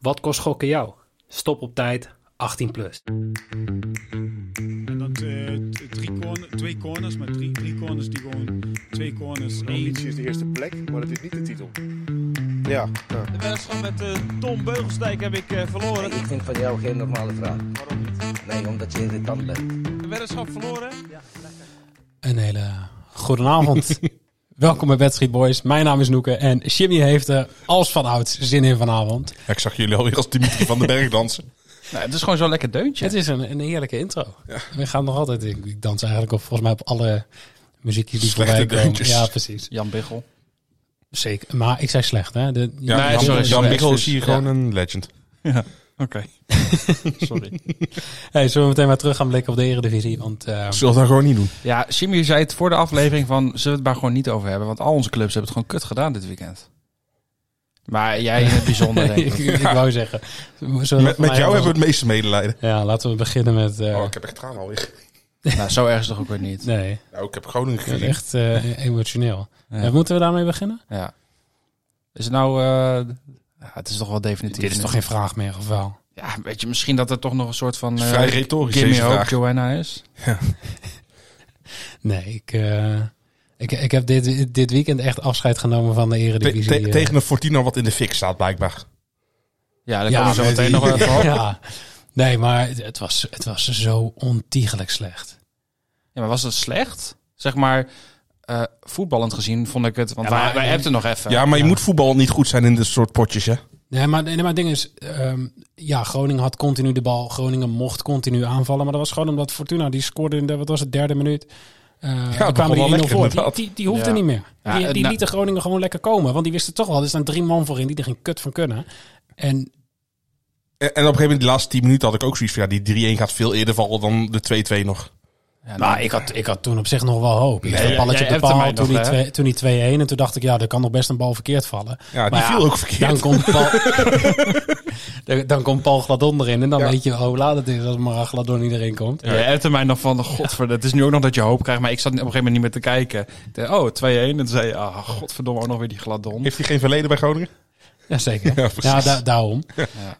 Wat kost gokken jou? Stop op tijd, 18 plus. En dat eh, t- drie corner, twee corners, maar drie, drie corners die gewoon twee corners. één. Ambitie is de eerste plek, maar dat is niet de titel. Ja, ja. De wedstrijd met eh, Tom Beugelsdijk heb ik eh, verloren. Ik vind van jou geen normale vraag. Waarom niet? Nee, omdat je irritant bent. De weddenschap verloren. Een hele goedenavond. Welkom bij Wedstrijd Boys. Mijn naam is Noeke en Jimmy heeft er als van ouds zin in vanavond. Ja, ik zag jullie alweer als Dimitri van den Berg dansen. Nou, het is gewoon zo'n lekker deuntje. Het is een, een heerlijke intro. We gaan nog altijd, ik, ik dans eigenlijk op, volgens mij op alle muziekjes die Slechte voorbij komen. deuntjes. Ja, precies. Jan Biggel. Zeker. Maar ik zei slecht, hè? De, Ja, Nee, Jan, sorry, Jan sorry, Biggel is excuus. hier gewoon Ja. een legend. Oké. Sorry. Hey, zullen we meteen maar terug gaan blikken op de Eredivisie? Want eh, Zullen we dat gewoon niet doen? Ja, Jimmy zei het voor de aflevering van... Zullen we het maar gewoon niet over hebben? Want al onze clubs hebben het gewoon kut gedaan dit weekend. Maar jij in het bijzonder, denk ik, ik. ik wou zeggen. zullen we van Met, met mij jou ook- hebben we het meeste medelijden. Ja, laten we beginnen met... eh, Oh, ik heb echt tranen alweer. Nou, zo erg is het toch ook weer niet. Nee, Nou, ik heb gewoon een het is gilling. echt eh, emotioneel. Ja. Eh, moeten we daarmee beginnen? Ja. Is het nou... eh, ja, het is toch wel definitief. Dit is toch geen vraag meer, of wel? Ja, weet je, misschien dat er toch nog een soort van... eh, Vrij retorisch Gimme deze Hope vraag. Joanna is. Nee, ik, eh, ik, ik heb dit, dit weekend echt afscheid genomen van de Te- Eredivisie. te- eh. tegen een Fortino wat in de fik staat, blijkbaar. Ja, daar Ja, komen we zo nee, meteen die- nog wel even op. Ja. Ja. Nee, maar het, het was, het was zo ontiegelijk slecht. maar was dat slecht? Zeg maar, eh, voetballend gezien vond ik het... Want Ja, maar- wij, wij hebben het nog even. Ja, maar je moet voetbal niet goed zijn in dit soort potjes, hè? Nee, maar, nee, maar het ding is, ehm, ja, Groningen had continu de bal. Groningen mocht continu aanvallen. Maar dat was gewoon omdat Fortuna, die scoorde in de, wat was het, derde minuut. Eh ja, begon kwamen die wel 1-0 lekker, voor. Die, inderdaad. die, die hoefde Ja. niet meer. Ja, die eh, die nou- lieten Groningen gewoon lekker komen. Want die wisten toch wel, er staan drie man voorin die er geen kut van kunnen. En En, en op een gegeven moment, de laatste 10 minuten, had ik ook zoiets van... Ja, die 3-1 gaat veel eerder vallen dan de 2-2 nog. Ja, nou, Nou, ik had, ik had toen op zich nog wel hoop. Ik Nee, had een jij- balletje op jij de hebt paal hem toen nog, die, hè? twee, toen die 2-1. En toen dacht ik, ja, er kan nog best een bal verkeerd vallen. Ja, die Maar ja, viel ook verkeerd. Dan komt Paul, dan, dan komt Paul Gladon erin. En dan Ja. weet je hoe laat het is als maar Gladon niet erin komt. Ja, hebt er mij nog van, godverdomme, het is nu ook nog dat je hoop krijgt, maar ik zat op een gegeven moment niet meer te kijken. Ik dacht, oh, 2-1, en toen zei je, ah, godverdomme, ook nog weer die gladon. Heeft hij geen verleden bij Groningen? Jazeker. Ja, Ja, precies. da- daarom.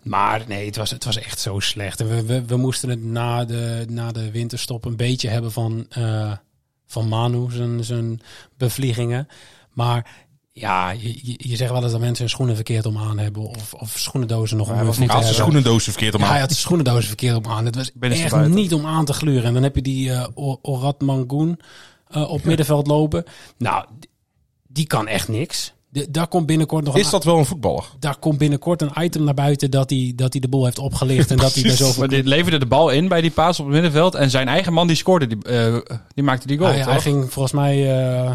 Maar nee, het was, het was echt zo slecht. En we, we, we moesten het na de, na de winterstop een beetje hebben van, eh, van Manu, zijn, zijn bevliegingen. Maar ja, je, je- je zegt wel eens dat mensen hun schoenen verkeerd om aan hebben. Of, of schoenendozen nog om hij hun was voeten niet Hij had hebben. zijn schoenendozen verkeerd om Ja, hij aan. had zijn schoenendozen verkeerd om aan. Het was echt buiten. niet om aan te gluren. En dan heb je die eh, O- Orad Mangoen eh, op middenveld lopen. Nou, d- die kan echt niks. De- daar komt binnenkort nog Is een dat wel een voetballer? daar komt binnenkort een item naar buiten dat hij, dat hij de boel heeft opgelicht. en dat hij er Precies. zoveel... Maar dit leverde de bal in bij die paas op het middenveld, en zijn eigen man die scoorde, die, eh, die maakte die goal, Hij, hij toch? ging volgens mij eh,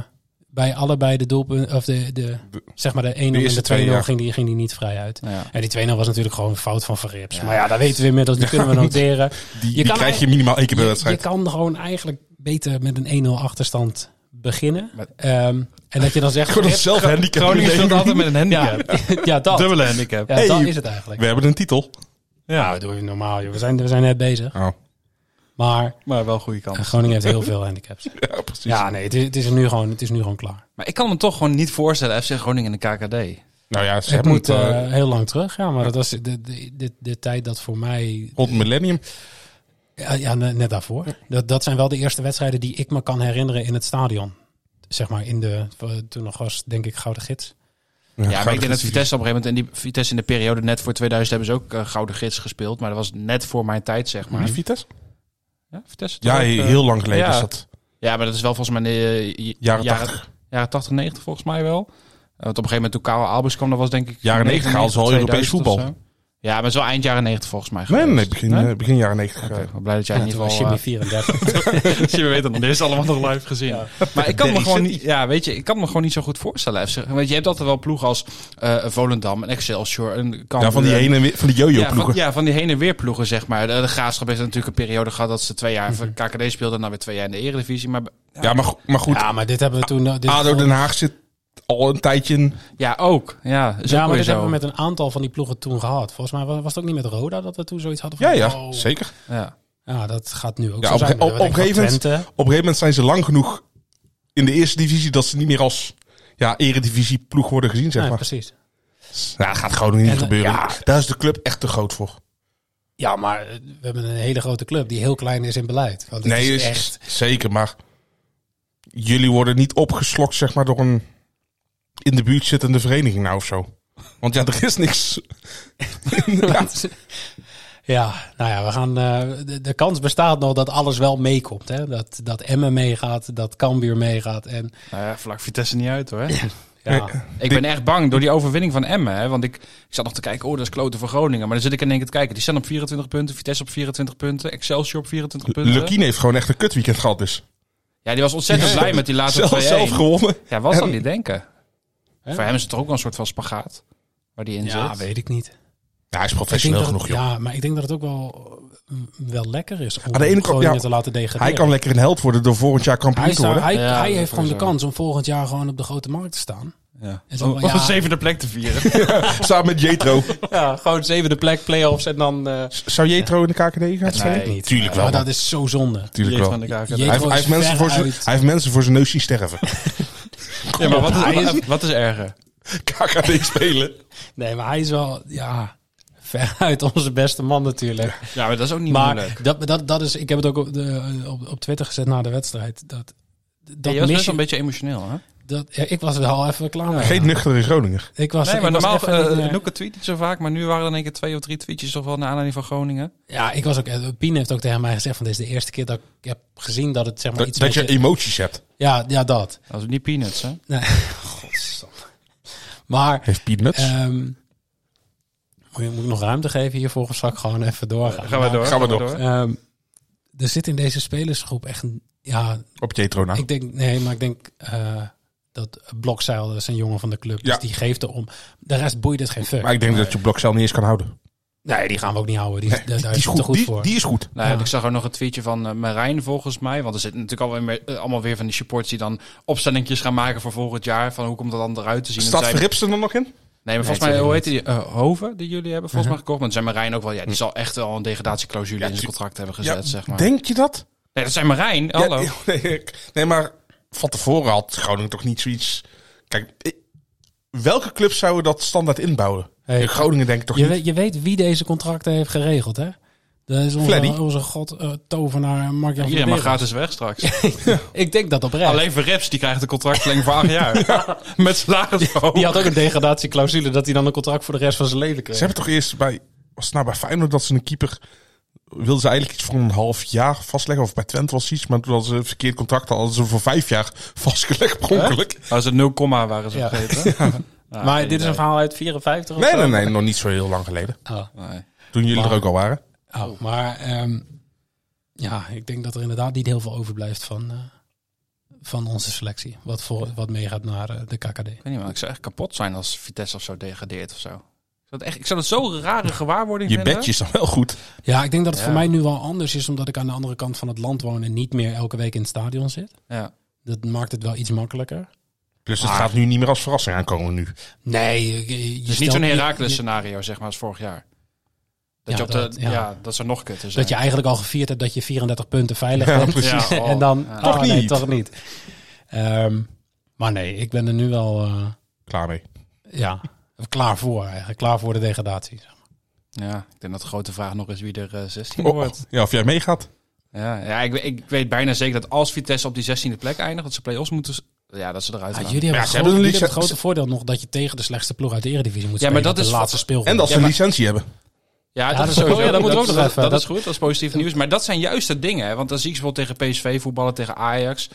bij allebei de doelpunten... Of de, de, zeg maar de 1-0 en eerste de 2-0 twee, ja. ging, die, ging die niet vrij uit. Ja. En die 2-0 was natuurlijk gewoon een fout van Verrips. Maar ja, dat weten we inmiddels. Die kunnen we noteren. Die, Je die kan krijg je minimaal één keer per Je wedstrijd. kan gewoon eigenlijk beter met een 1-0 achterstand beginnen. Met- Ehm, en dat je dan zegt... Gewoon Verrips- zelf handicap. Groningen Nee. stond altijd met een ja, handicap. ja, dat. Ja, Dubbele handicap. dat Hey. is het eigenlijk. We hebben een titel. Ja, dat doe je normaal. Joh. We, zijn, we zijn net bezig. Oh. Maar eh, Maar wel goede kans. Groningen heeft heel veel handicaps. Ja, precies. Ja, nee, het is, het is, nu, gewoon, het is nu gewoon klaar. Maar ik kan me toch gewoon niet voorstellen, FC Groningen en de KKD. Nou ja, ze het hebben moet het eh, eh, heel lang terug, ja, maar dat was de, de, de, de tijd dat voor mij. rond het millennium. Ja, ja, ne- net daarvoor. Dat, dat zijn wel de eerste wedstrijden die ik me kan herinneren in het stadion. Zeg maar in de. eh, Toen nog was, denk ik, Gouden Gids. Ja, maar Gouden ik denk dat Gids. Vitesse op een gegeven moment, en die Vitesse in de periode net voor 2000 hebben ze ook eh, Gouden Gids gespeeld, maar dat was net voor mijn tijd, zeg maar. Vitesse? Ja, Vitesse toch Ja, ook, eh, heel lang geleden ja. is dat. Ja, maar dat is wel volgens mij in de eh, j- Jaren jaren 80. Jaren 80, 90 volgens mij wel. Eh, want op een gegeven moment toen Karel Albers kwam, dat was denk ik... Jaren 90 haalden ze al 2000 Europees of zo. Ja, maar het is wel eind jaren 90 volgens mij Nee, nee, geweest. nee, begin, eh, begin jaren 90. Oké, eh. wel blij dat jij in toen ieder was Jimmy geval... eh, 34. je weet het, dit is allemaal nog live gezien. Maar ik kan me gewoon niet, ja, weet je, ik kan me gewoon niet zo goed voorstellen. FC. Want je hebt altijd wel ploegen als eh, Volendam en Excelsior en Ja, van die, heen heen en weer- van die jojo ja, van, ploegen. ja, van die heen en weer ploegen, zeg maar. De, de Graafschap heeft natuurlijk een periode gehad dat ze twee jaar voor Mhm. KKD speelden en dan weer twee jaar in de Eredivisie. Maar Ja, maar, go- maar goed, Ja, maar dit hebben we toen. eh, Dit is ADO gewoon- Den Haag zit al een tijdje in. ja, ook. Ja, is ook ja, maar weer dit zo. hebben we met een aantal van die ploegen toen gehad. Volgens mij was was het ook niet met Roda dat we toen zoiets hadden van. Ja, ja, oh. zeker. Ja. Ja, dat gaat nu ook Ja, zo op- zijn. op- We denken op van een gegeven moment- Twente. Op een gegeven moment zijn ze lang genoeg in de eerste divisie dat ze niet meer als ja, eredivisie ploeg worden gezien, zeg Ja, maar. precies. Nou, gaat gewoon niet En, gebeuren. ja. Daar is de club echt te groot voor. Ja, maar eh, we hebben een hele grote club die heel klein is in beleid. Want dit nee, dus- is is echt. zeker. Maar jullie worden niet opgeslokt, zeg maar, door een in de buurt zittende vereniging nou of zo. Want ja, er is niks. ja. Ja, nou ja, we gaan. eh, de, de kans bestaat nog dat alles wel meekomt. Hè? Dat, dat Emmen meegaat, dat Cambuur meegaat. En Nou ja, vlak Vitesse niet uit hoor. ja, Ik ben echt bang door die overwinning van Emmen. Hè? Want ik, ik zat nog te kijken, oh, dat is kloten voor Groningen. Maar dan zit ik in één keer te kijken. Die staan op 24 punten, Vitesse op 24 punten, Excelsior op 24 punten. Lukien heeft gewoon echt een kutweekend gehad Ah, dus. Ja, die was ontzettend blij met die laatste Zelf, zelf 2 gewonnen. Ja, wat dan En- niet denken? Hè? Voor hem is het toch ook wel een soort van spagaat waar die in zit. ja weet ik niet. Ja, hij is Ik denk professioneel dat, genoeg, joh. ja, maar ik denk dat het ook wel, eh, wel lekker is om Aan de ene kant, Groningen ja, te laten degraderen. Hij kan lekker een held worden door volgend jaar kampioen Hij, is te daar- worden. hij, Ja, hij dat heeft gewoon de sowieso. kans om volgend jaar gewoon op de grote markt te staan. Ja. En zo Om van, om ja. een zevende plek te vieren. Samen met Jetro. Ja, gewoon zevende plek, play-offs en dan... eh, Zou Jetro in de KKD gaan spelen? ik niet. Tuurlijk wel, Maar man. dat is zo zonde. Tuurlijk Jeet wel. van de KKD. Jeet- Hij heeft, hij, heeft Jetro is mensen voor zijn, veruit. hij heeft mensen voor zijn neus zien sterven. Ja, maar wat Hij is, is- wat is erger? KKD spelen. Nee, maar hij is wel, ja, veruit onze beste man natuurlijk. Ja, maar dat is ook niet maar moeilijk. dat, dat, dat is, ik heb het ook op, de, op, op Twitter gezet na de wedstrijd. Dat, dat Dat je was mis best je- wel een beetje emotioneel, hè? dat, ja, ik was er al even klaar mee. Geen nuchtere Groninger. ik was, Nee, ik maar was normaal even eh een, eh, Noeke tweet niet zo vaak, maar nu waren er in één keer twee of drie tweetjes toch wel naar aanleiding van Groningen. Ja, ik was ook. eh, Pien heeft ook tegen mij gezegd: van dit is de eerste keer dat ik heb gezien dat het zeg maar Dat, iets. dat met je emoties hebt. ja, ja, dat. Dat is niet peanuts, hè? Nee. Godsamme. Maar Heeft Peanuts. ehm, moet, je, moet ik nog ruimte geven hiervoor of zal ik gewoon even doorgaan? Gaan we door. Gaan we door. Ehm, er zit in deze spelersgroep echt een. Ja, op Jetro na. ik denk nee, maar ik denk eh, dat Blokzeil dat is een jongen van de club, Ja. dus die geeft erom. De rest boeit het geen fuck. Maar ik denk dat je Blokcel niet eens kan houden. nee, die gaan we ook niet houden. Die, is- daar- die, daar is goed. te goed die, voor. die is goed. Nou, ja, Ja. Ik zag ook nog een tweetje van eh, Marijn volgens mij. Want er zitten natuurlijk alweer, meer- eh, allemaal weer van die supporters die dan opstellingjes gaan maken voor volgend jaar. Van hoe komt dat dan eruit te zien? En Staat zij- Verrips er dan nog in? Nee, maar volgens mij, hoe heet die? eh, Hoven, die jullie hebben volgens mij gekocht. Maar zijn Marijn ook wel, ja, die zal echt wel een degradatieclausule in zijn Mhm. tu- contract hebben gezet, zeg maar. Denk je dat? Nee, dat zijn Marijn, Ja, hallo. nee, ik- nee, maar van tevoren had Groningen toch niet zoiets... Kijk, ik- welke clubs zouden dat standaard inbouwen? Hey. In Groningen denk ik toch Je niet. weet, je weet wie deze contracten heeft geregeld, hè? Dat is Fleddy. onze, onze god eh, tovenaar Mark Jan van Iedereen mag Beren. gratis weg straks. Ik denk dat oprecht. Alleen Verrips, die krijgt een contractverlenging voor acht jaar. Met salaris Die had ook een degradatieclausule dat hij dan een contract voor de rest van zijn leven kreeg. Ze hebben toch eerst bij... Was het nou bij Feyenoord dat ze een keeper... Wilden ze eigenlijk iets voor een half jaar vastleggen. Of bij Twente was iets. Maar toen hadden ze een verkeerd contract. Hadden ze voor vijf jaar vastgelegd per ongeluk. Dat is het 0, waren ze Ja. vergeten. Ah, maar geen dit is een idee. verhaal uit 54 of Nee, zo? nee, nee. Nog niet zo heel lang geleden. Oh, Nee. Toen jullie Maar- er ook al waren. oh, maar ehm, ja, ik denk dat er inderdaad niet heel veel overblijft van, eh, van onze selectie. Wat, voor, wat meegaat naar eh, de KKD. Ik weet niet, maar ik zou echt kapot zijn als Vitesse of zo degradeert of zo. Ik zou het, echt, ik zou het zo'n rare gewaarwording Je vinden. bedje is dan wel goed. Ja, ik denk dat het Ja. voor mij nu wel anders is omdat ik aan de andere kant van het land woon en niet meer elke week in het stadion zit. Ja. Dat maakt het wel iets makkelijker. Dus Ah. het gaat nu niet meer als verrassing aankomen nu. Nee, je, je- je Het is stelt- niet zo'n je- Herakles scenario, zeg maar, als vorig jaar. Dat Ja, je op dat- de, ja. ja. dat zou nog kutter zijn. Dat je eigenlijk al gevierd hebt dat je 34 punten veilig Ja, hebt. precies. eh, Ja, oh. en dan, Ja. ah, Toch Nee, niet. toch niet. Ehm, maar nee, ik ben er nu wel eh, Klaar mee. ja, klaar voor. Eigenlijk. Klaar voor de degradatie. Ja, ik denk dat de grote vraag nog is wie er eh, 16 Oh, wordt. ja, of jij meegaat. Ja, ja ik, we- ik weet bijna zeker dat als Vitesse op die 16e plek eindigt, dat ze play-offs moeten... s- Ja, dat ze eruit Ja, gaan. Ah, jullie hebben, hebben het ze grote- hebben een jullie lic- hebben het grote voordeel nog dat je tegen de slechtste ploeg uit de Eredivisie moet Ja, spelen. maar dat op de is laatste wat- speelronde. En dat ze Ja, maar- licentie hebben. Ja, Ja, dat, dat is is- sowieso. oh ja, dat moeten we ook nog dat- even- Dat, dat- is goed, dat is positief nieuws. Maar dat zijn juist de dingen. Hè? Want dan zie ik ze bijvoorbeeld tegen PSV voetballen, tegen Ajax.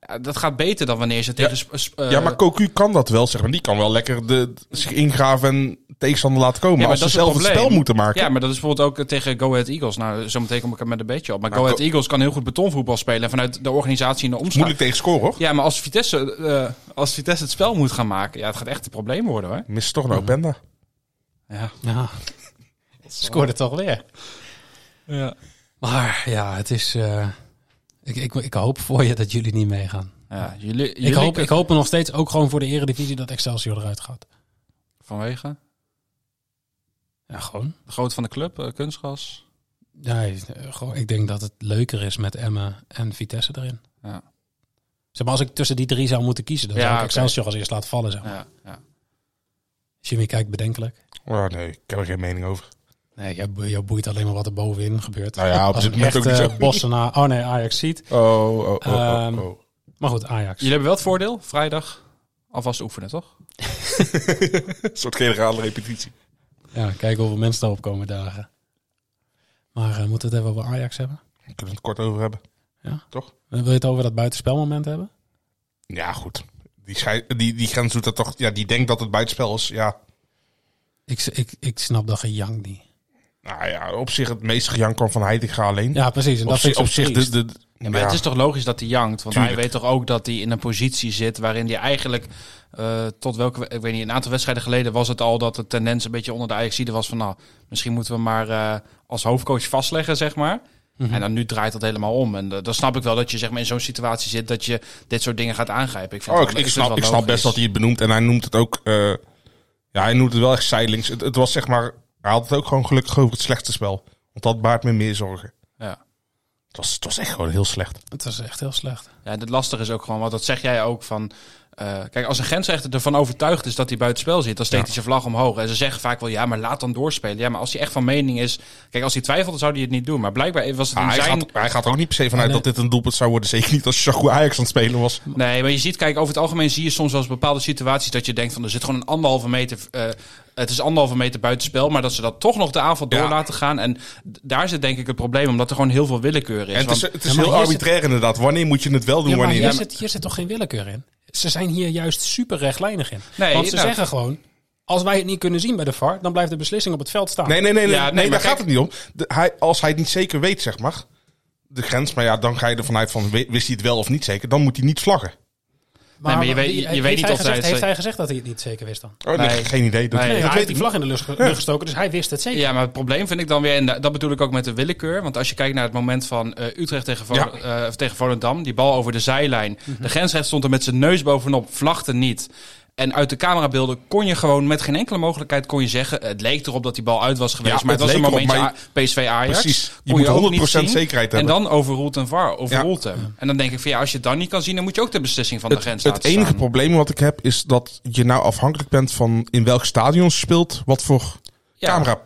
Ja, dat gaat beter dan wanneer ze tegen... sp- sp- eh, ja, maar Cocu kan dat wel, zeg maar. Die kan wel lekker de, zich ingraven en tegenstander laten komen. Ja, maar maar als ze dat is het zelf het probleem. spel moeten maken. Ja, maar dat is bijvoorbeeld ook eh, tegen Go Ahead Eagles. Nou, zometeen kom ik er met een beetje op. Maar Nou, Go Ahead Go- Eagles kan heel goed betonvoetbal spelen. En vanuit de organisatie en de is omslag. moeilijk tegen scoren, hoor. Ja, maar als Vitesse, eh, als Vitesse het spel moet gaan maken... Ja, het gaat echt een probleem worden, hoor. Mist toch een Openda. Ja. Ja. Scoorde toch weer. Maar ja, het is... eh, ik, ik, ik hoop voor je dat jullie niet meegaan. ja jullie, Ik jullie hoop, kunnen- ik hoop er nog steeds ook gewoon voor de Eredivisie dat Excelsior eruit gaat. Vanwege Ja, gewoon. de grootte van de club, eh, kunstgas. Nee, eh, gewoon, ik denk dat het leuker is met Emmen en Vitesse erin. Ja. Zeg maar, als ik tussen die drie zou moeten kiezen, dan Ja, zou ik oké. Excelsior als eerst laten vallen. Zeg maar. Ja, ja. Jimmy kijkt bedenkelijk. Oh, nee, ik heb er geen mening over. Nee, jij, bo- jij boeit alleen maar wat er bovenin gebeurt. Nou ja, op Als het dit moment echt ook niet eh, zo. Bossenaar... Oh nee, Ajax ziet. Oh, oh, oh, oh, Ehm, oh. Maar goed, Ajax. Jullie hebben wel het voordeel, vrijdag alvast oefenen, toch? Een soort generale repetitie. Ja, kijken hoeveel mensen daarop komen dagen. Maar eh, moeten we het even over Ajax hebben? We kunnen het kort over hebben. Wil je het over dat buitenspelmoment hebben? Ja, goed. Die, schei- die, die grens doet dat toch... Ja, die denkt dat het buitenspel is. Ja, Ik, s- ik, ik snap dat gejank niet. nou ja, op zich het meeste gejank kwam van Heitinga alleen. Ja, precies. En op, dat zi- vind ik op zo zich de... triest. de Ja, maar ja. het is toch logisch dat hij jankt? Want hij Tuurlijk. weet toch ook dat hij in een positie zit waarin hij eigenlijk... eh, tot welke, ik weet niet, een aantal wedstrijden geleden was het al dat de tendens een beetje onder de Ajaxide was van... Nou, misschien moeten we maar eh, als hoofdcoach vastleggen, zeg maar. Mhm. En dan nu draait dat helemaal om. En eh, dan snap ik wel dat je zeg maar, in zo'n situatie zit dat je dit soort dingen gaat aangrijpen. Ik, vind Oh, het ik, wel- ik vind het snap, ik wel snap best dat logisch. hij het benoemt. En hij noemt het ook... eh, ja, hij noemt het wel echt zijdelings. Het, het was zeg maar... Hij had het ook gewoon gelukkig over het slechtste spel. Want dat baart me meer zorgen. Ja. Het was, het was echt gewoon heel slecht. Het was echt heel slecht. Ja, en het lastige is ook gewoon, want dat zeg jij ook van... eh, kijk, als een grensrechter ervan overtuigd is dat hij buitenspel zit, dan steekt hij zijn vlag omhoog. En ze zeggen vaak wel, ja, maar laat dan doorspelen. Ja, maar als hij echt van mening is... Kijk, als hij twijfelde, zou hij het niet doen. Maar blijkbaar was het in Ah, hij, zijn... gaat, hij gaat er ook niet per se vanuit Nee. dat dit een doelpunt zou worden. Zeker niet als Chaco Ajax aan het spelen was. Nee, maar je ziet, kijk, over het algemeen zie je soms wel eens bepaalde situaties dat je denkt van, er zit gewoon een anderhalve meter... eh, het is anderhalve meter buitenspel, maar dat ze dat toch nog de aanval door Ja. laten gaan. En d- daar zit denk ik het probleem, omdat er gewoon heel veel willekeur is. En het Want- is, het is Ja, maar heel hier arbitrair inderdaad. Wanneer moet je het wel doen, Ja, maar wanneer hier, niet? zit, hier zit toch geen willekeur in? Ze zijn hier juist super rechtlijnig in. Nee, Want ze nou- zeggen gewoon, als wij het niet kunnen zien bij de VAR, dan blijft de beslissing op het veld staan. Nee, nee, nee, nee, Ja, nee, nee, maar daar kijk- gaat het niet om. De- hij, als hij het niet zeker weet, zeg maar, de grens, maar ja, dan ga je ervan uit van we- wist hij het wel of niet zeker, dan moet hij niet vlaggen. maar je weet- wie- je heeft weet niet hij of gezegd- hij- Heeft hij gezegd dat hij het niet zeker wist dan? Oh, nee, Nee. geen idee. Dat, Nee, Nee, dat hij heeft weet die ik. vlag in de lucht ge- lucht gestoken, dus hij wist het zeker. Ja, maar het probleem vind ik dan weer, en da- dat bedoel ik ook met de willekeur. Want als je kijkt naar het moment van eh, Utrecht tegen, Vol- Ja. Mhm. eh, tegen Volendam, die bal over de zijlijn. De grensrechter stond er met zijn neus bovenop, vlagde niet. En uit de camerabeelden kon je gewoon met geen enkele mogelijkheid kon je zeggen. Het leek erop dat die bal uit was geweest. Ja, maar het, het was een leek erop, momentje maar A- PSV Ajax. Precies. Je Kon moet ook niet 100% zien. zekerheid hebben. En dan overroelt een VAR, overroelt hem. En dan denk ik van ja, als je het dan niet kan zien, dan moet je ook de beslissing van de Het, grens het laten enige staan. probleem wat ik heb is dat je nou afhankelijk bent van in welk stadion je speelt, wat voor Ja. camera.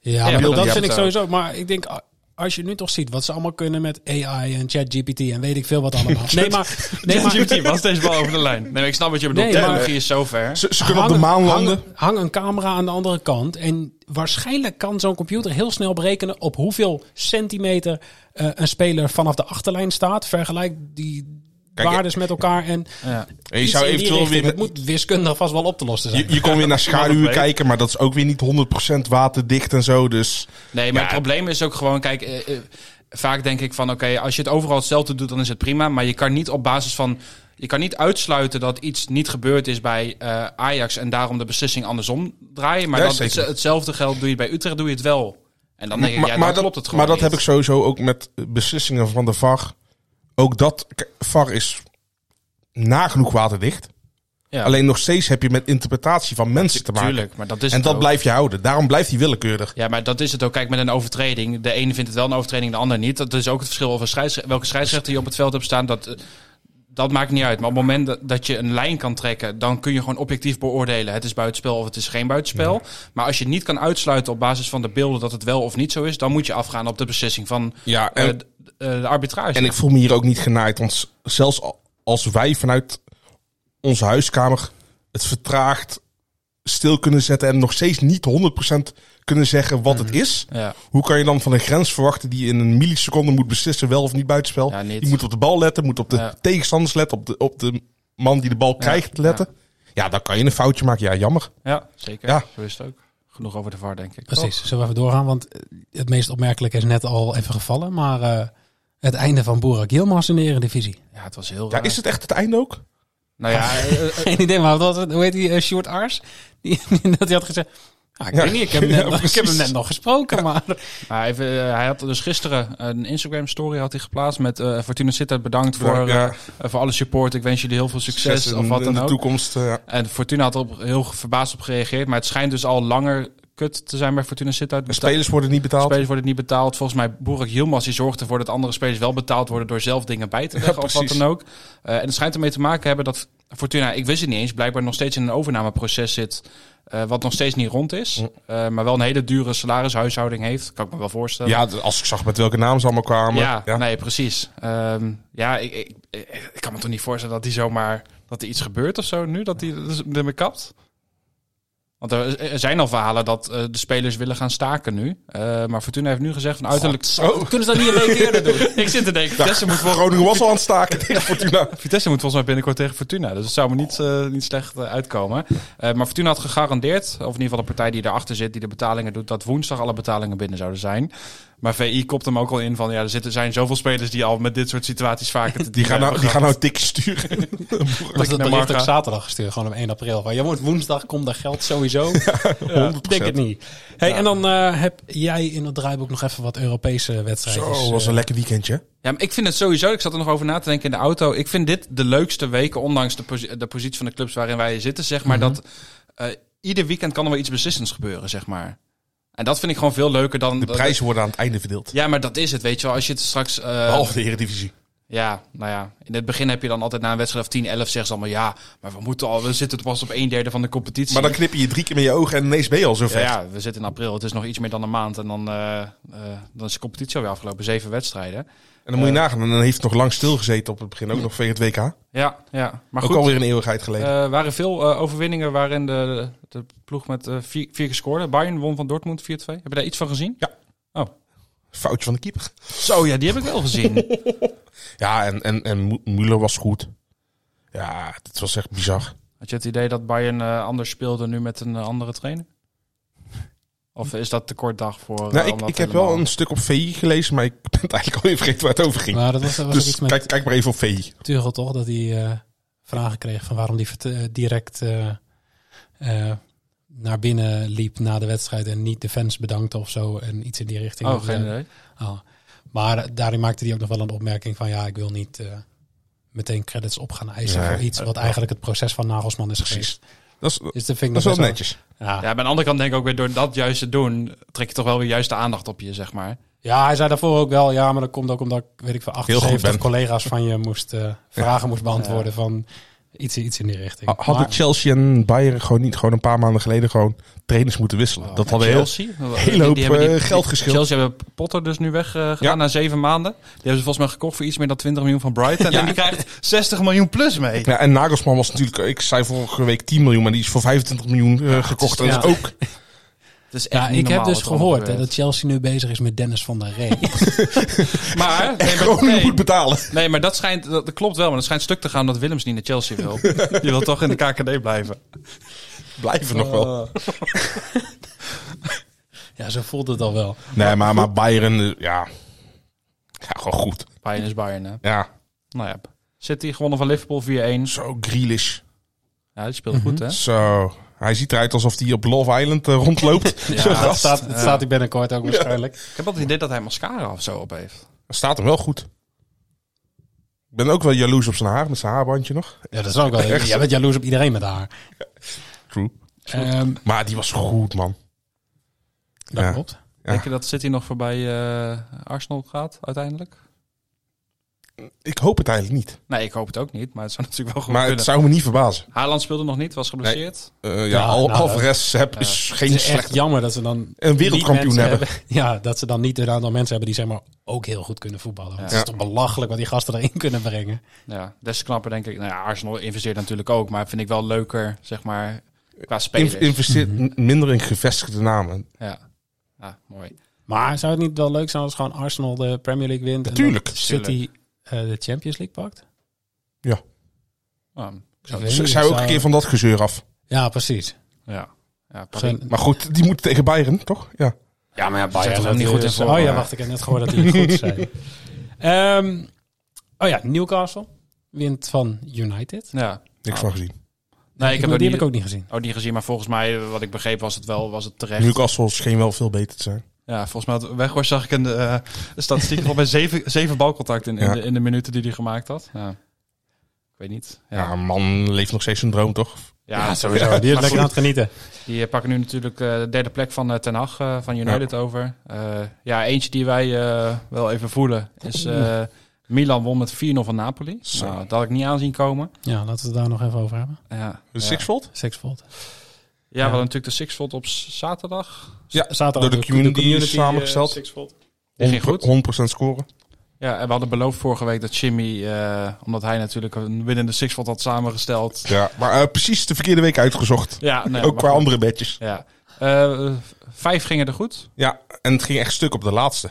Ja, maar maar dat, dat vind hebt ik ook. sowieso. Maar ik denk, a- als je nu toch ziet wat ze allemaal kunnen met AI en ChatGPT en weet ik veel wat allemaal. Nee, maar, nee, maar Duty, was deze bal over de lijn? Nee, maar ik snap wat je bedoelt. Nee, maar- Technologie is zover. Ze, ze kunnen op de hang- maan hang- landen. Hang, een camera aan de andere kant. En waarschijnlijk kan zo'n computer heel snel berekenen op hoeveel centimeter eh, een speler vanaf de achterlijn staat. Vergelijk die Kijk, waardes met elkaar. En Ja. En je iets zou in die eventueel richting. weer... Het moet wiskundig vast wel op te lossen zijn. Je, je kon weer naar schaduwen kijken, maar dat is ook weer niet 100% waterdicht en zo. Dus Nee, maar Ja. het probleem is ook gewoon, kijk, eh, eh, vaak denk ik van, oké, als je het overal hetzelfde doet, dan is het prima. Maar je kan niet op basis van, je kan niet uitsluiten dat iets niet gebeurd is bij eh, Ajax en daarom de beslissing andersom draaien. Maar Ja, dat zeker. het- hetzelfde geldt, doe je het bij Utrecht, doe je het wel. En dan denk ik, ja, dan dat- klopt het gewoon Maar dat niet. heb ik sowieso ook met beslissingen van de VAR. Ook dat, kijk, VAR is nagenoeg waterdicht. Ja. Alleen nog steeds heb je met interpretatie van mensen te maken. Tuurlijk, maar dat is En het dat ook. blijf je houden. Daarom blijft hij willekeurig. Ja, maar dat is het ook. Kijk, met een overtreding. De ene vindt het wel een overtreding, de ander niet. Dat is ook het verschil over scheids- welke scheidsrechter je op het veld hebt staan. Dat, eh, dat maakt niet uit. Maar op het moment dat- dat je een lijn kan trekken, dan kun je gewoon objectief beoordelen. Het is buitenspel of het is geen buitenspel. Maar als je niet kan uitsluiten op basis van de beelden dat het wel of niet zo is, dan moet je afgaan op de beslissing van Ja, eh, en, d- eh, de arbitrage. en ik voel me hier ook niet genaaid. Want s- zelfs al- als wij vanuit onze huiskamer het vertraagd stil kunnen zetten... en nog steeds niet 100% kunnen zeggen wat het is... Mhm. ja. Hoe kan je dan van een grens verwachten die in een milliseconde moet beslissen wel of niet buitenspel? Ja, niet. Die moet op de bal letten, moet op de Ja. tegenstanders letten, op de, op de man die de bal krijgt letten. Ja. dan kan je een foutje maken. Ja, jammer. ja, zeker. Ja. Zo is het ook. Genoeg over de VAR, denk ik. Precies, zullen we even doorgaan? Want eh, het meest opmerkelijke is net al even gevallen. Maar eh, het einde van Boerak Yilmaz in de Eredivisie. Ja, het was heel Ja, raar. is het echt het einde ook? Nou ja, eh, eh, Geen idee, maar wat, was- hoe heet die eh, Sjoerd Ars? Die, dat hij had gezegd... Ah, ik Ja. weet niet, ik heb, hem net, Ja, nog- ik heb hem precies. net nog gesproken, maar... Maar even, eh, hij had dus gisteren een Instagram story had hij geplaatst met eh, Fortuna Sittard bedankt voor, Ja, ja. eh, eh, voor alle support. Ik wens jullie heel veel succes, in, of wat in dan de ook. toekomst. eh, ja. En Fortuna had er op, heel verbaasd op gereageerd. Maar het schijnt dus al langer kut te zijn bij Fortuna Sittard. En Beta- spelers worden niet betaald. Spelers worden niet betaald. Volgens mij Boerak Yilmaz die zorgt ervoor dat andere spelers wel betaald worden door zelf dingen bij te leggen of wat precies. dan ook. Eh, en het schijnt ermee te maken hebben dat Fortuna, ik wist het niet eens, blijkbaar nog steeds in een overnameproces zit. eh, wat nog steeds niet rond is. Eh, maar wel een hele dure salarishuishouding heeft. Kan ik me wel voorstellen. Ja, d- als ik zag met welke naam ze allemaal kwamen. ja, nee, precies. Ehm, ja, ik, ik, ik- ik kan me toch niet voorstellen dat die zomaar dat er iets gebeurt of zo nu, dat die dus ermee kapt. Want er er zijn al verhalen dat eh, de spelers willen gaan staken nu. Eh, maar Fortuna heeft nu gezegd van uiterlijk... Kunnen ze dat niet een week eerder doen? Ik zit te denken, Vitesse moet, vol- Groningen was al aan het staken tegen Fortuna. Vitesse moet volgens mij binnenkort tegen Fortuna. Dus het zou me niet, eh, niet slecht eh, uitkomen. Eh, maar Fortuna had gegarandeerd, of in ieder geval de partij die erachter zit, die de betalingen doet, dat woensdag alle betalingen binnen zouden zijn. Maar VI kopt hem ook al in van, ja, er zitten, zijn zoveel spelers die al met dit soort situaties vaker te Die gaan, nou, die hebben gaan nou dik Was sturen. dat naar bericht ook Marga. zaterdag gestuurd, gewoon op 1 april. Van, je wordt woensdag, komt daar geld sowieso. Ja, ik denk het niet. Hey, En dan eh, heb jij in het draaiboek nog even wat Europese wedstrijden. Zo, was een lekker weekendje. Ja, maar ik vind het sowieso, ik zat er nog over na te denken in de auto. Ik vind dit de leukste weken, ondanks de, posi- de positie van de clubs waarin wij zitten. Zeg Mhm. maar dat eh, ieder weekend kan er wel iets beslissends gebeuren, zeg maar. En dat vind ik gewoon veel leuker dan... De prijzen worden aan het einde verdeeld. Ja, maar dat is het, weet je wel. Als je het straks... eh, Behalve de Eredivisie. Ja, nou ja. In het begin heb je dan altijd na een wedstrijd of 10, 11 zeggen ze allemaal... Ja, maar we, moeten al, we zitten pas op een derde van de competitie. Maar dan knip je je drie keer met je ogen en ineens ben je al zo ja, ver. ja, we zitten in april. Het is nog iets meer dan een maand. En dan, eh, eh, dan is de competitie alweer afgelopen. Zeven wedstrijden. En dan moet je nagaan. En dan heeft het nog lang stilgezeten op het begin. Ook nog vegen het WK. Ja, ja. Maar Ook goed, alweer een eeuwigheid geleden. Er waren veel eh, overwinningen waarin de, de ploeg met eh, vier, vier keer scoorde. Bayern won van Dortmund 4-2. Heb je daar iets van gezien? Foutje van de keeper. Zo, ja, die heb ik wel gezien. Ja, en, en, en Mu- Müller was goed. Ja, het was echt bizar. Had je het idee dat Bayern eh, anders speelde nu met een eh, andere trainer? Of is dat te kort dag voor... eh, Nou, ik, om dat ik heb helemaal- wel een stuk op VI gelezen, maar ik ben het eigenlijk alweer vergeten waar het over ging. Maar dat was, dat was ook Dus iets met kijk, kijk maar even op VI. Tuchel, toch? Dat hij eh, vragen kreeg van waarom hij vert- eh, direct eh, eh, naar binnen liep na de wedstrijd en niet de fans bedankte of zo. En iets in die richting. Oh, Dat- geen idee. Oh. Maar eh, daarin maakte hij ook nog wel een opmerking van ja, ik wil niet eh, meteen credits op gaan eisen Nee. voor iets wat eigenlijk het proces van Nagelsman is Precies. geweest. Dat is, dat Dus dat vind ik is nog wel best netjes. Ja. Ja, maar aan de andere kant denk ik ook weer door dat juist te doen... trek je toch wel weer juist de aandacht op je, zeg maar. Ja, hij zei daarvoor ook wel, ja, maar dat komt ook omdat ik, weet ik veel, goed 78 ben. collega's van je moest eh, vragen moest beantwoorden van iets, iets in die richting. Hadden Maar- Chelsea en Bayern gewoon niet gewoon een paar maanden geleden gewoon trainers moeten wisselen? dat hadden heel... Chelsea? hele hoop, eh, geld geschild. Chelsea hebben Potter dus nu weggedaan Ja. gedaan na zeven maanden. Die hebben ze volgens mij gekocht voor iets meer dan 20 miljoen van Brighton. En die krijgt 60 miljoen plus mee. Ja, en Nagelsman was natuurlijk, ik zei vorige week 10 miljoen, maar die is voor 25 miljoen eh, gekocht. is- Dat is ook Dus Ja, ik heb dus gehoord hè, dat Chelsea nu bezig is met Dennis van der Rey. Maar, nee, maar, Groningen nee, moet betalen. nee, maar dat, schijnt, dat, dat klopt wel. Maar dat schijnt stuk te gaan dat Willems niet naar Chelsea wil. Die wil toch in de KKD blijven. Blijven nog Oh. wel. ja, zo voelt het al wel. Nee, maar, maar Bayern, eh, ja. Ja, gewoon goed. Bayern is Bayern, hè. Ja, Nou ja. City gewonnen van Liverpool 4-1. zo Grealish. Ja, die speelt goed, hè. Mhm. Zo. Hij ziet eruit alsof hij op Love Island eh, rondloopt. Ja, Zo'n dat gast. staat, dat staat hij binnenkort ook waarschijnlijk. Ik heb altijd het idee dat hij mascara of zo op heeft. Staat hem wel goed. Ik ben ook wel jaloers op zijn haar, met zijn haarbandje nog. Ja, dat is ook wel. Echt? Jij bent jaloers op iedereen met haar. True. Ehm Maar die was goed, man. dat Ja. klopt. Ja. Denk je dat City nog voorbij eh, Arsenal gaat uiteindelijk? Ik hoop het eigenlijk niet. Nee, ik hoop het ook niet, maar het zou natuurlijk wel goed Maar het kunnen. zou me niet verbazen. Haaland speelde nog niet, was geblesseerd. Eh, ja, Ja, Al- nou, Alvarez heb, is geen Het is echt slechte... jammer dat ze dan Een wereldkampioen niet mensen hebben. Ja, dat ze dan niet een aantal mensen hebben die zeg maar ook heel goed kunnen voetballen. Want Het is Ja. toch belachelijk wat die gasten erin kunnen brengen. Ja, des te knapper denk ik. Nou ja, Arsenal investeert natuurlijk ook, maar vind ik wel leuker, zeg maar, qua spelers. In- investeert m- minder in gevestigde namen. ja. ja, mooi. Maar zou het niet wel leuk zijn als gewoon Arsenal de Premier League wint Natuurlijk. en dat City eh, de Champions League pakt? Nou, Ik weet Z- niet, Zij het ook zou- een keer van dat gezeur af. Ja, precies. ja. Ja, Paris- Geen- Maar goed, die moeten tegen Bayern, toch? Ja. ja, maar ja, Ja, Bayern is dat ook niet goed in is- vorm. eh. Oh ja, maar- wacht, ik heb net gehoord dat die goed zijn. Ehm, oh ja, Newcastle wint van United. Ja. Niks van gezien. Nee, ik die heb ook heb niet, ik ook niet gezien. ook niet gezien, maar volgens mij, wat ik begreep, was het wel was het terecht. Newcastle scheen wel veel beter te zijn. Ja, volgens mij had Weghorst zag ik een eh statistiek nog bij zeven, zeven balcontacten in, in Ja. de, in de minuten die hij gemaakt had. Ja. weet niet. Ja, Ja, man leeft nog steeds een droom, toch? ja, Sowieso, die is Maar lekker aan goed, het genieten. Die eh, pakken nu natuurlijk eh, de derde plek van eh, Ten Hag eh, van United over. Eh, ja, eentje die wij eh, wel even voelen is eh, Milan won met 4-0 van Napoli. Zo. Nou, dat had ik niet aanzien komen. Ja, laten we het daar nog even over hebben. Ja, De ja. Sixfold? Sixfold. Ja, we hadden natuurlijk de Sixfold op s- zaterdag. Ja, Zaterdag door de community, samengesteld. Die ging goed. 100% scoren. Ja, en we hadden beloofd vorige week dat Jimmy, eh, omdat hij natuurlijk een winnende Sixfold had samengesteld. Ja, maar eh, precies de verkeerde week uitgezocht. Ja, nee, Ook maar qua goed. andere bedjes. Ja. Eh, vijf gingen er goed. Ja, en het ging echt stuk op de laatste.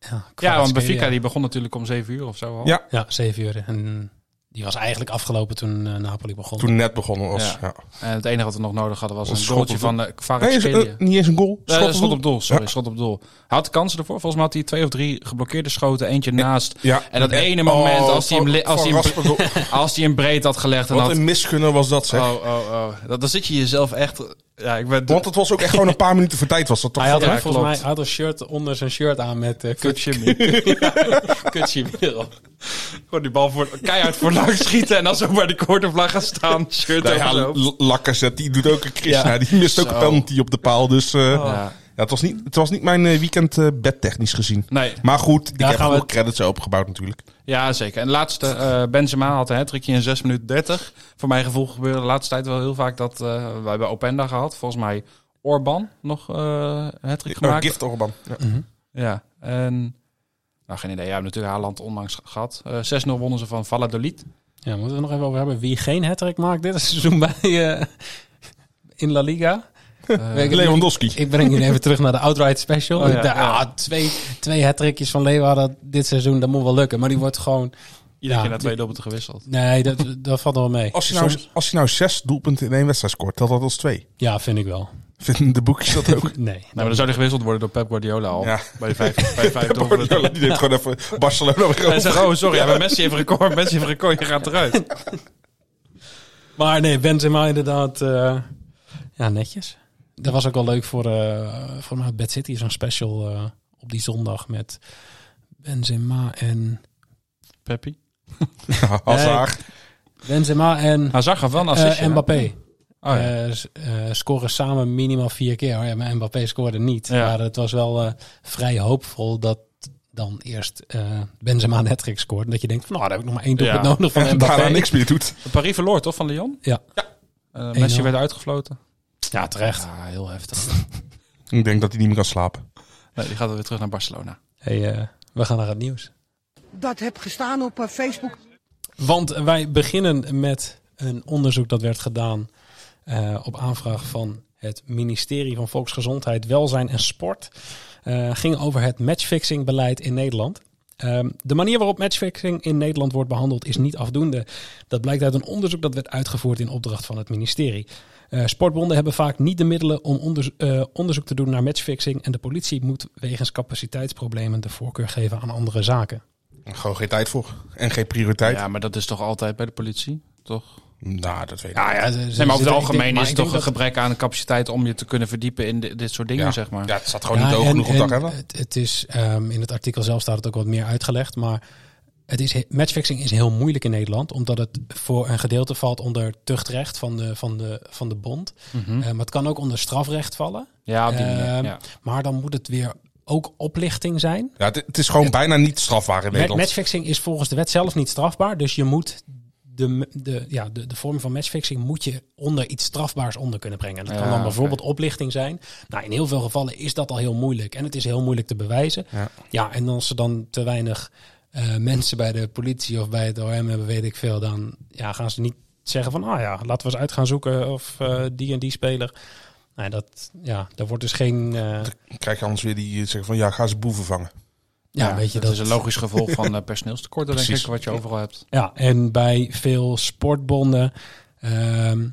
Ja, want Kvaratskhelia. Benfica die begon natuurlijk om zeven uur of zo al. Ja. Ja, zeven uur. En die was eigenlijk afgelopen toen eh, Napoli begon. Toen het net begonnen was. Ja. Ja. En het enige wat we nog nodig hadden was Een een schot goaltje op doel. van eh Nee, is- Kvaratskhelia. eh, niet eens een goal. Eh, Schot op doel. op doel, sorry, Ja. schot op doel. Hij had de kansen ervoor. Volgens mij had hij twee of drie geblokkeerde schoten, eentje naast. Ja. En dat ene moment Oh, als hij hem, van- li- als van hij hem, Raspador. als hij hem breed had gelegd. En Wat had, een misgunner was dat, zeg. oh, oh, oh. Dat, dan zit je jezelf echt... Ja, ik ben... Want het was ook echt gewoon een paar minuten voor tijd was dat toch? Hij had Ja, ook volgens klopt. mij hij had een shirt onder zijn shirt aan met eh Kut kut. Jimmy. Kut Jimmy erop. Gewoon die bal voor, keihard voor langs schieten en dan zo bij de cornervlag gaan staan. Shirt Nou ja, overloop. L- Lacazette, die doet ook een Krishna. Ja. Oh. Die mist ook een Zo. penalty op de paal. Dus eh, ja. Ja. het, was niet, het was niet mijn eh, weekend eh, bedtechnisch gezien. Nee, Maar goed, ik Daar heb gaan we veel het- credits opgebouwd natuurlijk. Ja, zeker. En laatste, eh, Benzema had een hat-trickje in 6 minuten 30. Voor mijn gevoel gebeurde de laatste tijd wel heel vaak dat... eh wij hebben Openda gehad. Volgens mij Orban nog eh een hat-trick Oh, gemaakt. gift Orban. Ja. Ja, en... Nou, geen idee. Ja, we hebben natuurlijk Haaland onlangs gehad. Eh 6-0 wonnen ze van Valladolid. Ja, moeten we het nog even over hebben. Wie geen hattrick maakt dit seizoen bij eh, in La Liga. Eh, ik, Lewandowski. ik breng jullie even terug naar de outright special. Oh ja, Ik dacht, ja. ah, twee, twee hattrickjes van Leeuwarden dit seizoen, dat moet wel lukken. Maar die wordt gewoon... Iedere Ja, keer na twee die- doelpunten gewisseld. Nee, dat, dat valt wel mee. Als je, nou, Soms- als je nou zes doelpunten in één wedstrijd scoort, telt dat als twee. Ja, vind ik wel. Vinden de boekjes dat ook? Nee. Nou, maar dan zou die gewisseld worden door Pep Guardiola al. Ja. Bij de vijf, bij de vijf doelpunten. Guardiola, die deed gewoon even Barcelona weer Hij over. zegt, oh sorry, ja, maar Messi heeft een record, Messi heeft een record, je gaat eruit. Maar nee, Benzema inderdaad. eh, ja, netjes. Dat was ook wel leuk voor, eh voor mij. Bad City is een special eh, op die zondag met Benzema en... Peppy. Hazard. Benzema en, Hazard gaf wel een eh assistje. hè? Mbappé. Oh, ja. Eh, s- eh, scoren samen minimaal vier keer. Oh ja, maar Mbappé scoorde niet. Ja. Maar het was wel eh, vrij hoopvol dat dan eerst eh, Benzema een hat scoort. En dat je denkt, van, nou, daar heb ik nog maar één doelpunt Ja. nodig van en Mbappé. daarna niks meer doet. Paris verloor toch van Lyon? Eh, Ja. Eh, 1-0. Messi werd uitgefloten. Ja, terecht. Ja, heel heftig. Ik denk dat hij niet meer kan slapen. Nee, die gaat weer terug naar Barcelona. Hey, eh, we gaan naar het nieuws. dat heb gestaan op eh, Facebook. Want wij beginnen met een onderzoek dat werd gedaan eh, op aanvraag van het ministerie van Volksgezondheid, Welzijn en Sport. Eh ging over het matchfixingbeleid in Nederland. Ehm, de manier waarop matchfixing in Nederland wordt behandeld is niet afdoende. Dat blijkt uit een onderzoek dat werd uitgevoerd in opdracht van het ministerie. Eh, sportbonden hebben vaak niet de middelen om onderzo- eh, onderzoek te doen naar matchfixing. En de politie moet wegens capaciteitsproblemen de voorkeur geven aan andere zaken. Gewoon geen tijd voor. En geen prioriteit. Ja, maar dat is toch altijd bij de politie? Toch? Nou, dat weet ik Ja, ja, Eh, ze- ze Nee, zitten- maar ik over denk- het algemeen maar is ik denk het toch een dat- gebrek aan de capaciteit om je te kunnen verdiepen in di- dit soort dingen, Ja. zeg maar. Ja, het staat gewoon Ja, Oh, niet hoog en- genoeg op de en agenda. Het, het is, ehm, in het artikel zelf staat het ook wat meer uitgelegd, maar het is, he- matchfixing is heel moeilijk in Nederland, omdat het voor een gedeelte valt onder tuchtrecht van de, van de, van de bond. Mhm. Eh, maar het kan ook onder strafrecht vallen, Ja, op die manier. Ehm, ja. maar dan moet het weer ook oplichting zijn. Ja, het, het is gewoon bijna niet strafbaar in Ma- Nederland. Matchfixing is volgens de wet zelf niet strafbaar, dus je moet de, de, ja, de, de vorm van matchfixing moet je onder iets strafbaars onder kunnen brengen. Dat Ja, kan dan oké. bijvoorbeeld oplichting zijn. Nou, in heel veel gevallen is dat al heel moeilijk en het is heel moeilijk te bewijzen. Ja. Ja, en als ze dan te weinig eh, mensen bij de politie of bij het OM hebben, weet ik veel, dan ja, gaan ze niet zeggen van, ah ja, laten we eens uit gaan zoeken of eh, die en die speler. Nou, dat, ja, daar wordt dus geen... eh, Dan krijg je anders weer die eh, zeggen van ja, ga ze boeven vangen. ja, Ja, weet je, dat, is een logisch gevolg van eh, personeelstekorten, denk ik, Precies. wat je overal hebt. Ja, en bij veel sportbonden ehm,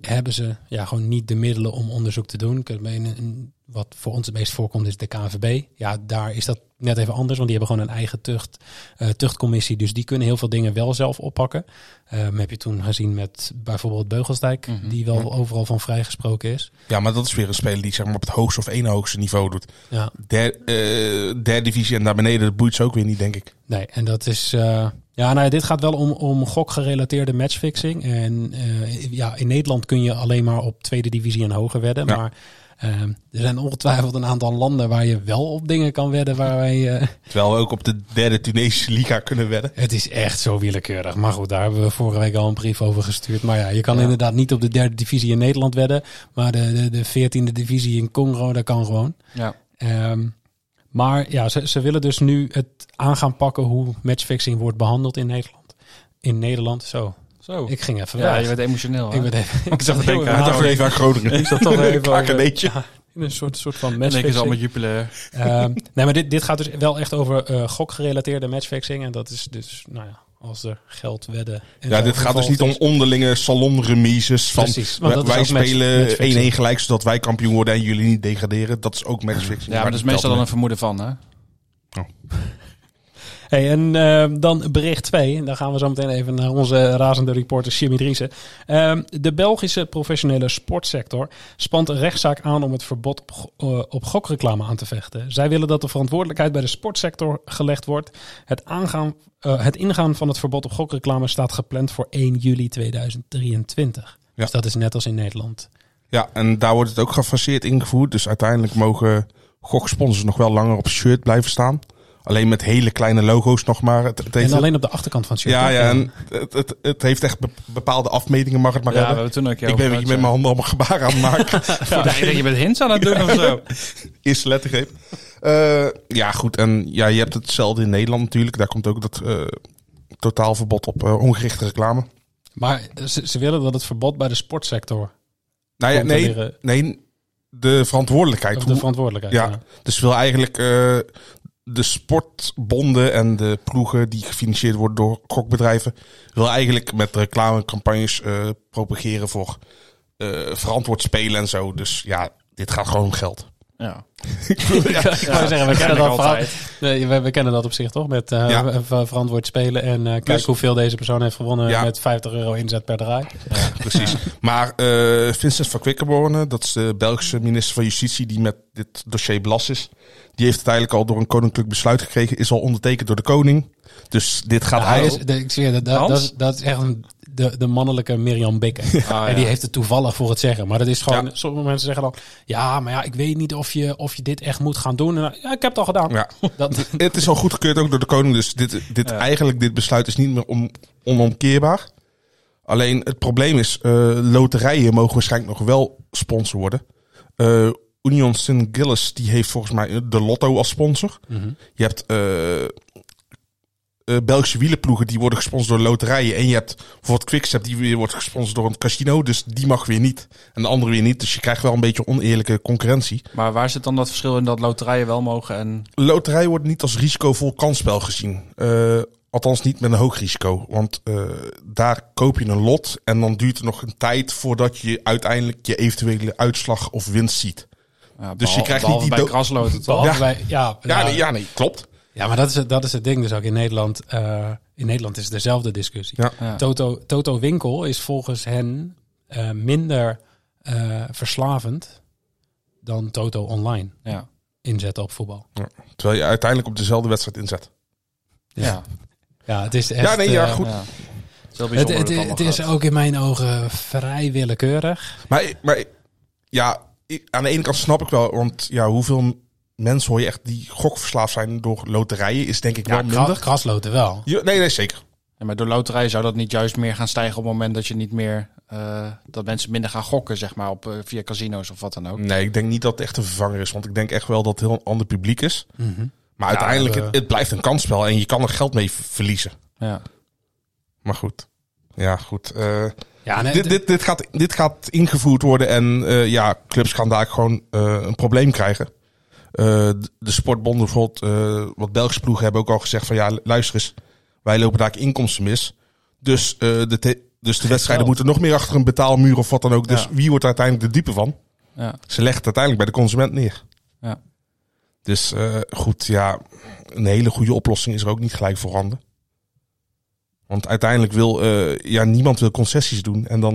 hebben ze ja, gewoon niet de middelen om onderzoek te doen. Ik weet niet, een- Wat voor ons het meest voorkomt is de KNVB. Ja, daar is dat net even anders, want die hebben gewoon een eigen tucht, eh, tuchtcommissie. Dus die kunnen heel veel dingen wel zelf oppakken. Ehm, heb je toen gezien met bijvoorbeeld Beugelsdijk, Mhm. die wel overal van vrijgesproken is. Ja, maar dat is weer een speler die zeg maar op het hoogste of ene hoogste niveau doet. Ja. Der, eh, derde divisie en daar beneden, dat boeit ze ook weer niet, denk ik. Nee, en dat is eh, Ja, nou, ja, dit gaat wel om, om gokgerelateerde matchfixing. En eh, ja, in Nederland kun je alleen maar op tweede divisie en hoger wedden. Ja. Maar ehm, er zijn ongetwijfeld een aantal landen waar je wel op dingen kan wedden. Waar wij, eh, Terwijl we ook op de derde Tunesische liga kunnen wedden. het is echt zo willekeurig. Maar goed, daar hebben we vorige week al een brief over gestuurd. Maar ja, je kan inderdaad niet op de derde divisie in Nederland wedden. Maar de, de, de veertiende divisie in Congo, dat kan gewoon. Ja. Ehm, maar ja, ze, ze willen dus nu het aan gaan pakken hoe matchfixing wordt behandeld in Nederland. In Nederland, zo. Zo. Ik ging even ja, weg. je bent emotioneel. hè? ik werd even ik zag het heel denken erg aan- Toch hard. even aan Groningen. Ik zat toch even Kakkeneetje. ja, in een soort, soort van En ik is allemaal matchfixing. jupiler. Ehm, nee, maar dit, dit gaat dus wel echt over eh, gokgerelateerde matchfixing. En dat is dus, nou ja, als er geld wedden. en Ja, zo dit gaat dus involved niet om is. onderlinge salonremises van Precies, want dat is wij ook match- spelen 1-1 matchfixing. gelijk zodat wij kampioen worden en jullie niet degraderen. Dat is ook matchfixing. Ja, maar dat is meestal dan een vermoeden van, hè? Hey, en ehm, dan bericht 2. En dan gaan we zo meteen even naar onze razende reporter Jimmy Driessen. Ehm, de Belgische professionele sportsector spant een rechtszaak aan om het verbod op, go- eh, op gokreclame aan te vechten. Zij willen dat de verantwoordelijkheid bij de sportsector gelegd wordt. Het, aangaan, eh, het ingaan van het verbod op gokreclame staat gepland voor 1 juli 2023. Ja. Dus dat is net als in Nederland. Ja, en daar wordt het ook gefaseerd ingevoerd. Dus uiteindelijk mogen goksponsors nog wel langer op shirt blijven staan. Alleen met hele kleine logo's nog maar. Het, het heeft- En alleen op de achterkant van het shirt. ja, hè? ja, en het, het, het heeft echt be- bepaalde afmetingen, mag het maar Ja, we hebben. hebben toen ook Ik ben hier met mijn handen allemaal gebaren aan het maken. handen. Je bent hints aan het doen of zo. Eerste lettergreep. Eh, ja, goed. En ja, je hebt hetzelfde in Nederland natuurlijk. Daar komt ook dat eh, totaalverbod op eh, ongerichte reclame. Maar ze, ze willen dat het verbod bij de sportsector Nou ja, nee, controleren. nee, de verantwoordelijkheid. eh, Of Hoe- de verantwoordelijkheid. Ja. Dus wil eigenlijk eh, de sportbonden en de ploegen die gefinancierd worden door gokbedrijven, wil eigenlijk met reclamecampagnes eh, propageren voor eh, verantwoord spelen en zo. Dus ja, dit gaat gewoon om geld. Ja. Ik wou zeggen, we kennen, ken ik dat verhaal- nee, we, we kennen dat op zich toch? Met eh, Ja. ver- verantwoord spelen en eh kijken Dus- hoeveel deze persoon heeft gewonnen Ja. met 50 euro inzet per draai. Precies. Maar eh, Vincent van Quickenborne, dat is de Belgische minister van Justitie die met dit dossier belast is, die heeft het eigenlijk al door een koninklijk besluit gekregen, is al ondertekend door de koning. Dus dit gaat hij is, eigenlijk... de- ik zweer, dat, dat, Hans? Ah, dat, is, dat is echt een, de, de mannelijke Mirjam Bikker. En die heeft het toevallig voor het zeggen. Maar dat is gewoon, Ja. sommige mensen zeggen dan, ja, maar ja, ik weet niet of je, of je dit echt moet gaan doen. En, ja, ik heb het al gedaan. Ja. Dat, Het is al goedgekeurd ook door de koning. Dus dit, dit, eigenlijk dit besluit is niet meer on- onomkeerbaar. Alleen het probleem is, eh, loterijen mogen waarschijnlijk nog wel sponsor worden. Eh, Union St. Gillis die heeft volgens mij de Lotto als sponsor. Je hebt eh, eh, Belgische wielenploegen die worden gesponsord door loterijen. En je hebt bijvoorbeeld Quickstep die weer wordt gesponsord door een casino. Dus die mag weer niet. En de andere weer niet. Dus je krijgt wel een beetje oneerlijke concurrentie. Maar waar zit dan dat verschil in dat loterijen wel mogen en... loterij wordt niet als risicovol kansspel gezien. Eh, althans niet met een hoog risico. Want eh, daar koop je een lot en dan duurt het nog een tijd voordat je uiteindelijk je eventuele uitslag of winst ziet. Ja, Dus behal- je krijgt niet behalve die bij do- krasloten, toch? behalve Ja. bij- ja, Ja, nou, nee, ja nee, klopt. Ja, maar dat is, het- dat is het ding dus ook in Nederland. eh, in Nederland is het dezelfde discussie. Ja. Ja. Toto, Toto Winkel is volgens hen eh, minder eh, verslavend dan Toto online Ja. inzet op voetbal. Terwijl je uiteindelijk op dezelfde wedstrijd inzet. Ja. Ja, het is echt, ja, nee, ja, eh, goed. Ja. Het is heel Het, bijzonder het, hoe het, dat allemaal is gaat. ook in mijn ogen vrij willekeurig. Maar, maar ja, ik- aan de ene kant snap ik wel, want ja, hoeveel mensen hoor je echt die gokverslaafd zijn door loterijen is denk ik wel kra- minder. Krasloten wel. Ja, nee, nee, zeker. Ja, maar door loterijen zou dat niet juist meer gaan stijgen op het moment dat je niet meer... eh, dat mensen minder gaan gokken, zeg maar, op, eh, via casino's of wat dan ook. Nee, ik denk niet dat het echt een vervanger is, want ik denk echt wel dat het heel een ander publiek is. Maar uiteindelijk, we- het, het blijft een kansspel en je kan er geld mee v- verliezen. Ja. Maar goed. Ja, goed. eh, Ja, nee, dit, dit, dit, gaat, dit gaat ingevoerd worden en eh, ja, clubs gaan daar gewoon eh, een probleem krijgen. Eh, de- de sportbonden bijvoorbeeld, eh, wat Belgische ploegen hebben ook al gezegd van ja, luister eens, wij lopen daar inkomsten mis. Dus, eh, de, te- dus de wedstrijden moeten nog meer achter een betaalmuur of wat dan ook. Dus Ja. wie wordt er uiteindelijk de dupe van? Ja. Ze legt het uiteindelijk bij de consument neer. Ja. Dus eh, goed, ja, een hele goede oplossing is er ook niet gelijk voorhanden. Want uiteindelijk wil eh, ja, niemand wil concessies doen. En dan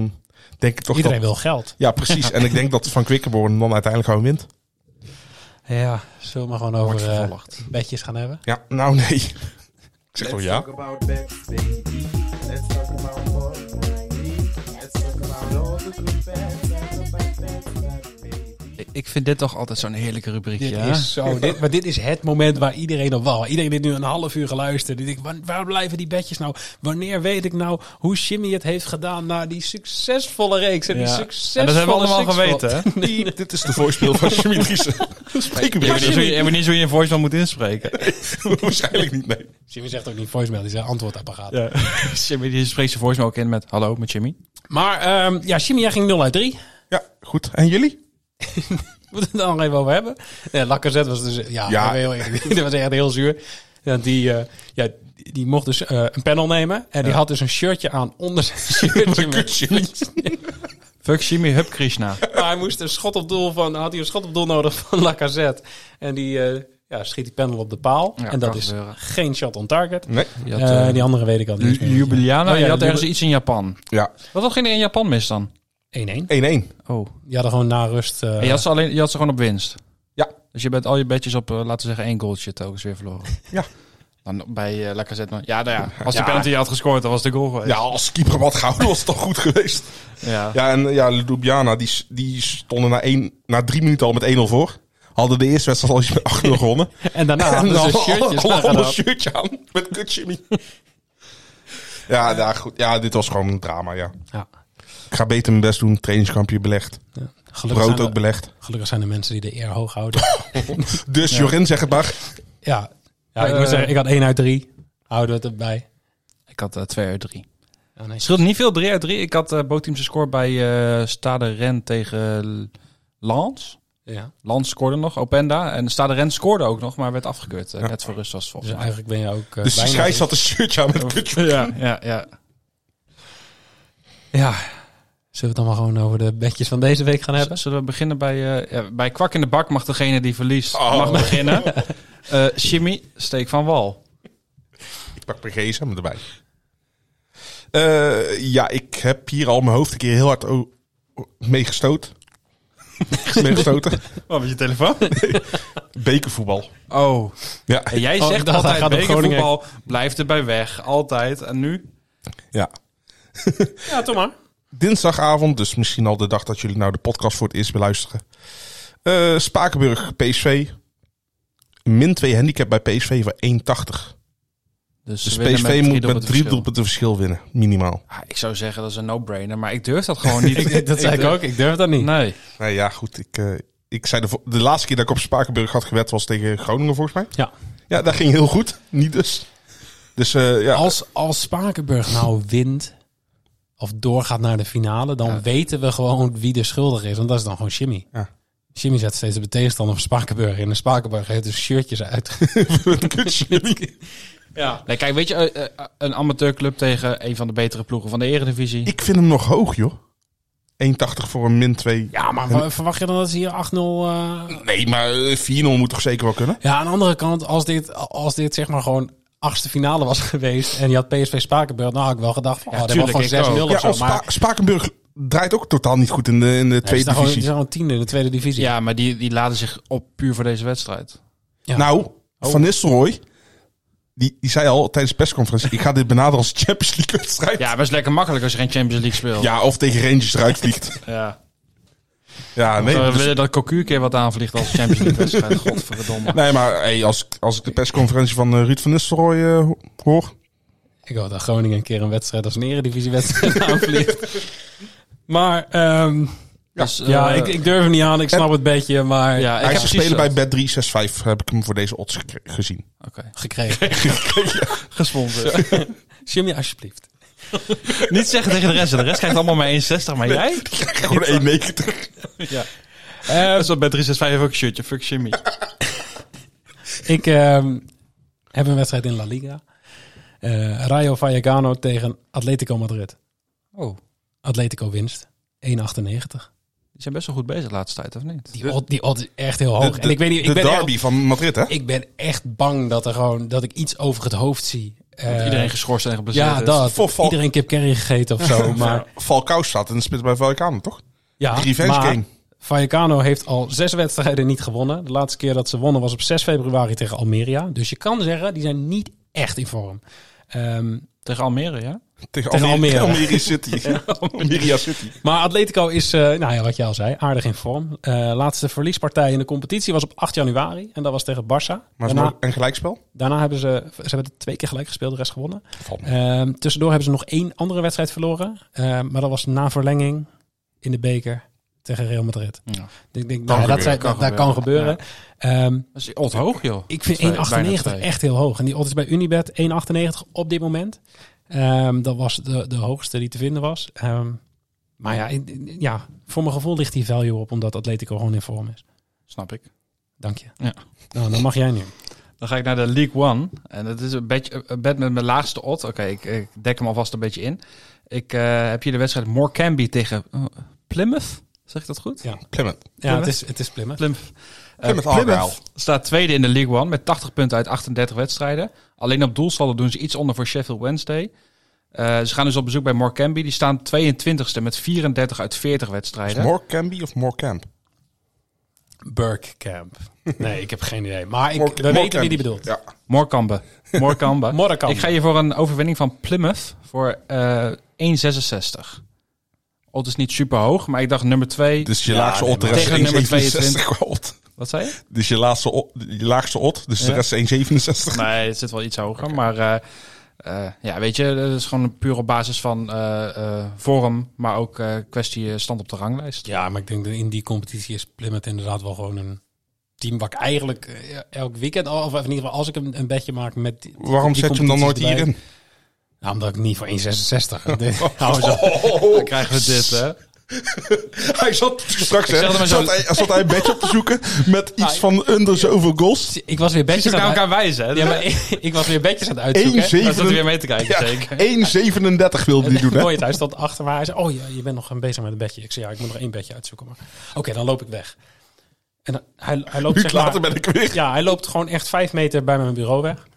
denk ik toch iedereen dat... wil geld. Ja, precies. en ik denk dat Van Quickenborn dan uiteindelijk gewoon wint. Ja, zullen we maar gewoon over eh, bedjes gaan hebben? Ja, nou nee. Ik zeg toch ja. Ik vind dit toch altijd zo'n heerlijke rubriek. Dit is zo. Dit, maar dit is het moment waar iedereen op wou. Iedereen heeft nu een half uur geluisterd. Die denkt, waar, waar blijven die bedjes nou? Wanneer weet ik nou hoe Jimmy het heeft gedaan na die succesvolle reeks? En die Ja. succesvolle En dat hebben we allemaal sixpot? geweten, hè? Nee, Dit is de voorspel van Jimmy Driessen. Spreek hem Ik weet niet zo- ik weet niet zo je een voice wel moet inspreken. Waarschijnlijk niet, nee. Jimmy zegt ook niet voicemail, die zijn antwoordapparaat. Ja. Jimmy die spreekt zijn voicemail ook in met hallo, met Jimmy. Maar ehm, ja, Jimmy, jij ging 0 uit 3. Ja, goed. En jullie? moeten we het dan nog even over hebben. Nee, Lacazette was dus... Ja, Ja. Heel, dat was echt heel zuur. Want die, eh, ja, die mocht dus eh, een panel nemen. En die had dus een shirtje aan onder zijn shirtje. met- Fuck Jimmy, hup Krishna. maar hij moest een schot op doel van... Had hij een schot op doel nodig van Lacazette. En die eh, ja, schiet die panel op de paal. Ja, en dat kan is gebeuren. geen shot on target. Nee. Je Eh had, eh, die andere weet ik al niet. Ju- eens meer. Jubiliana, Oh ja, je had Jubil- ergens iets in Japan. Ja, 1-1. Wat ging er in Japan mis dan? 1-1. 1-1. Oh. Die hadden gewoon na rust... eh, je, had ze alleen, je had ze gewoon op winst. Ja. Dus je bent al je bedjes op, eh, laten we zeggen, één goaltje telkens weer verloren. Ja. Dan bij eh Lacazette. maar- Ja, nou ja. Als de penalty had gescoord, dan was de goal geweest. Ja, als keeper wat gehouden was het toch goed geweest. Ja. Ja, en eh, ja, Ljubljana, die, s- die stonden na, één, na drie minuten al met 1-0 voor. Hadden de eerste wedstrijd al eens met 8-0 gewonnen. en daarna en nou, hadden Oh, ze shirtjes dan hadden ze allemaal een aangedaan. shirtje aan met kut Jimmy. ja, ja, goed. Ja, dit was gewoon een drama, ja. Ja. Ik ga beter mijn best doen. Trainingskampje belegd. Gelukkig, Brood zijn ook er, belegd. gelukkig zijn er mensen die de eer hoog houden. Dus Jorin, zeg het maar. Ja, ja ik moet Eh, zeggen, ik had 1 uit 3. Houden we het erbij. Ik had eh, twee uit drie. Oh, nee. Het scheelt niet veel, 3 uit 3. Ik had eh Bootteams score bij eh Stade Ren tegen Lans. Ja. Lans scoorde nog, Openda. En Stade Ren scoorde ook nog, maar werd afgekeurd. Eh, Net voor rust was het Dus volgens mij. eigenlijk ben je ook eh, Dus die bijna Oh. scheids had een shirtje aan met kut Jimmy. Ja, ja, ja. Ja. Zullen we het dan maar gewoon over de bedjes van deze week gaan Z- hebben? Zullen we beginnen bij... eh, ja, bij kwak in de bak mag degene die verliest Oh. mag beginnen. Eh Jimmy, steek van wal. Ik pak mijn gsm erbij. Eh, ja, ik heb hier al mijn hoofd een keer heel hard o- o- mee gestoot. mee gestoten. Wat Oh, met je telefoon? Bekervoetbal. Oh, Ja, en jij Oh, ik zegt dacht, hij altijd gaat op bekervoetbal blijft erbij weg. Altijd. En nu? ja. Ja, toch maar. Dinsdagavond, dus misschien al de dag dat jullie nou de podcast voor het eerst beluisteren. Eh, Spakenburg, PSV. Min 2 handicap bij PSV voor 1,80. ze Dus winnen PSV moet met doelpunten drie verschil. doelpunten verschil winnen, minimaal. Ah, ik zou zeggen dat is een no-brainer, maar ik durf dat gewoon niet. Dat zei ik durf- ook, ik durf dat niet. Nee. Nou ja, goed. Ik, eh, ik zei de, vo- de laatste keer dat ik op Spakenburg had gewet was tegen Groningen, volgens mij. Ja. Ja, dat ging heel goed. Niet dus. Dus eh, ja. Als, als Spakenburg nou wint of doorgaat naar de finale, dan weten we gewoon wie de schuldig is. Want dat is dan gewoon Jimmy. Ja. Jimmy zet steeds de tegenstander van Spakenburg in. En Spakenburg heeft dus shirtjes uit. ja. nee. Kijk, weet je, eh, eh, een amateurclub tegen een van de betere ploegen van de Eredivisie. Ik vind hem nog hoog, joh. 1,80 voor een min 2. ja, maar wa- verwacht je dan dat ze hier 8-0... eh, Nee, maar eh, 4-0 moet toch zeker wel kunnen? Ja, aan de andere kant, als dit, als dit zeg maar gewoon achtste finale was geweest en je had PSV Spakenburg, dan had ik wel gedacht van, oh, dat was tuurlijk, gewoon 6-0 ik ook. of Ja, zo. als Maar Spa- Spakenburg draait ook totaal niet goed in de, in de het is tweede dan gewoon, divisie. het is gewoon tiende in de tweede divisie. Ja, maar die, die laden zich op puur voor deze wedstrijd. ja. Oh. Nou, Van Nistelrooy, die, die zei al tijdens de persconferentie... ik ga dit benaderen als Champions League wedstrijd. Ja, maar is lekker makkelijk als je geen Champions League speelt. Ja, of tegen Rangers eruit vliegt. Ja. Ja, nee. Want we eh, dus- willen dat Cocu een keer wat aanvliegt als Champions League wedstrijd. Godverdomme. nee, maar hey, als, ik- als ik de persconferentie van eh, Ruud van Nistelrooy eh, ho- hoor... Ik hoop dat Groningen een keer een wedstrijd als een eredivisiewedstrijd aanvliegt. Maar ehm, Dus, ja, eh, ik, ik durf hem niet aan. Ik snap het beetje, maar ja, ik Hij heb is te precies spelen bij dat. Bed 365 heb ik hem voor deze odds gek- gezien. Oké. gekregen. Gesponsord. Jimmy, alsjeblieft. Niet zeggen tegen de rest. De rest krijgt allemaal maar 1,60. Maar jij? Gewoon 1,90. Dat is wat bij 365 ook een shirtje. Fuck Jimmy. Ik ehm, heb een wedstrijd in La Liga. Eh, Rayo Vallecano tegen Atletico Madrid. Oh, Atletico winst. 1,98. die zijn best wel goed bezig de laatste tijd, of niet? Die odd, die odd is echt heel hoog. De- en ik weet niet, de ik ben, derby echt, van Madrid, hè? ik ben echt bang dat, er gewoon, dat ik iets over het hoofd zie. Eh, Iedereen geschorst en geblesseerd. Ja, is. dat. Voor Val- Iedereen kip curry gegeten of zo. Maar, Falcao staat in de spits bij Vallecano, toch? ja, Revenge maar game. Vallecano heeft al zes wedstrijden niet gewonnen. De laatste keer dat ze wonnen was op 6 februari tegen Almeria. Dus je kan zeggen, die zijn niet echt in vorm. Ehm, Tegen Almere, ja? Tegen, Tegen Almere. Almere. Almere City. Almeria City. maar Atletico is, eh, nou ja, wat jij al zei, aardig in vorm. Eh, laatste verliespartij in de competitie was op 8 januari. En dat was tegen Barça. Maar het is Daarna, maar een gelijkspel? daarna hebben ze, ze hebben twee keer gelijk gespeeld, de rest gewonnen. Valt me. Ehm, tussendoor hebben ze nog één andere wedstrijd verloren. Ehm, maar dat was na verlenging in de beker tegen Real Madrid. Ja. Ik denk, nou, gebeuren, dat, zijn, kan dat, dat kan gebeuren. gebeuren. Ehm, Dat is old hoog, joh. ik vind Twee, 1,98 bijna twee. echt heel hoog. En die odd is bij Unibet 1,98 op dit moment. Ehm, dat was de, de hoogste die te vinden was. Ehm, maar ja, in- in- ja, voor mijn gevoel ligt die value op, omdat Atletico gewoon in vorm is. Snap ik. Dank je. Ja. Nou, dan mag jij nu. Dan ga ik naar de League One. En dat is een, bedje, een bed met mijn laagste odd. Oké, ik, ik dek hem alvast een beetje in. Ik eh, heb hier de wedstrijd Morecambe tegen eh, Plymouth. Zeg ik dat goed? Clement. Ja, het is, het is Plymouth. Plymouth. Eh, Plymouth Argyle. staat tweede in de League One met 80 punten uit 38 wedstrijden. Alleen op doelsaldo doen ze iets onder voor Sheffield Wednesday. Eh, ze gaan dus op bezoek bij Morecambe. Die staan 22e met 34 uit 40 Is wedstrijden. More Camby of More Camp? Burkamp. Nee, ik heb geen idee. Maar ik, More- we More weten wie Camby. die bedoelt. Ja. Morecambe. Morecambe. Morecambe. Ik ga hier voor een overwinning van Plymouth voor eh 1,66. Odd is niet super hoog, maar ik dacht nummer 2. Dus je laagste odd, de rest tegen nummer 1,67 gold. Wat zei je? Dus je, laatste odd- je laagste odd, dus de Ja. rest 1,67. Nee, het zit wel iets hoger. Maar eh, eh, ja, weet je, dat is gewoon puur op basis van eh, eh, vorm, maar ook eh, kwestie eh, stand op de ranglijst. Ja, maar ik denk dat in die competitie is Plymouth inderdaad wel gewoon een team waar ik eigenlijk eh, elk weekend al, of in ieder geval als ik een, een bedje maak met die- Waarom die zet je hem dan nooit competities erbij- hierin? Nou, omdat ik niet voor 1,66. Dit- hou eens op. Oh, Dan krijgen we dit, hè? hij zat straks, hè? zeg dat maar zo. Zat hij, zat hij een bedje op te zoeken met iets van under zoveel goals? Ik was weer bedjes naar aan het elkaar wijzen, hè? ja, maar ik, ik was weer bedjes aan het uitzoeken. hè. 1,7 Dan zat hij weer mee te kijken, Ja, zeker. 1,37 wilde hij doen, hè? Mooi, het, hij stond achter me. Hij zei, oh ja, je bent nog bezig met een bedje. Ik zei, ja, ik moet nog één bedje uitzoeken. Maar oké, dan loop ik weg. En dan- hij, hij loopt Minuut zeg maar- later ben ik weer. Ja, hij loopt gewoon echt vijf meter bij mijn bureau weg.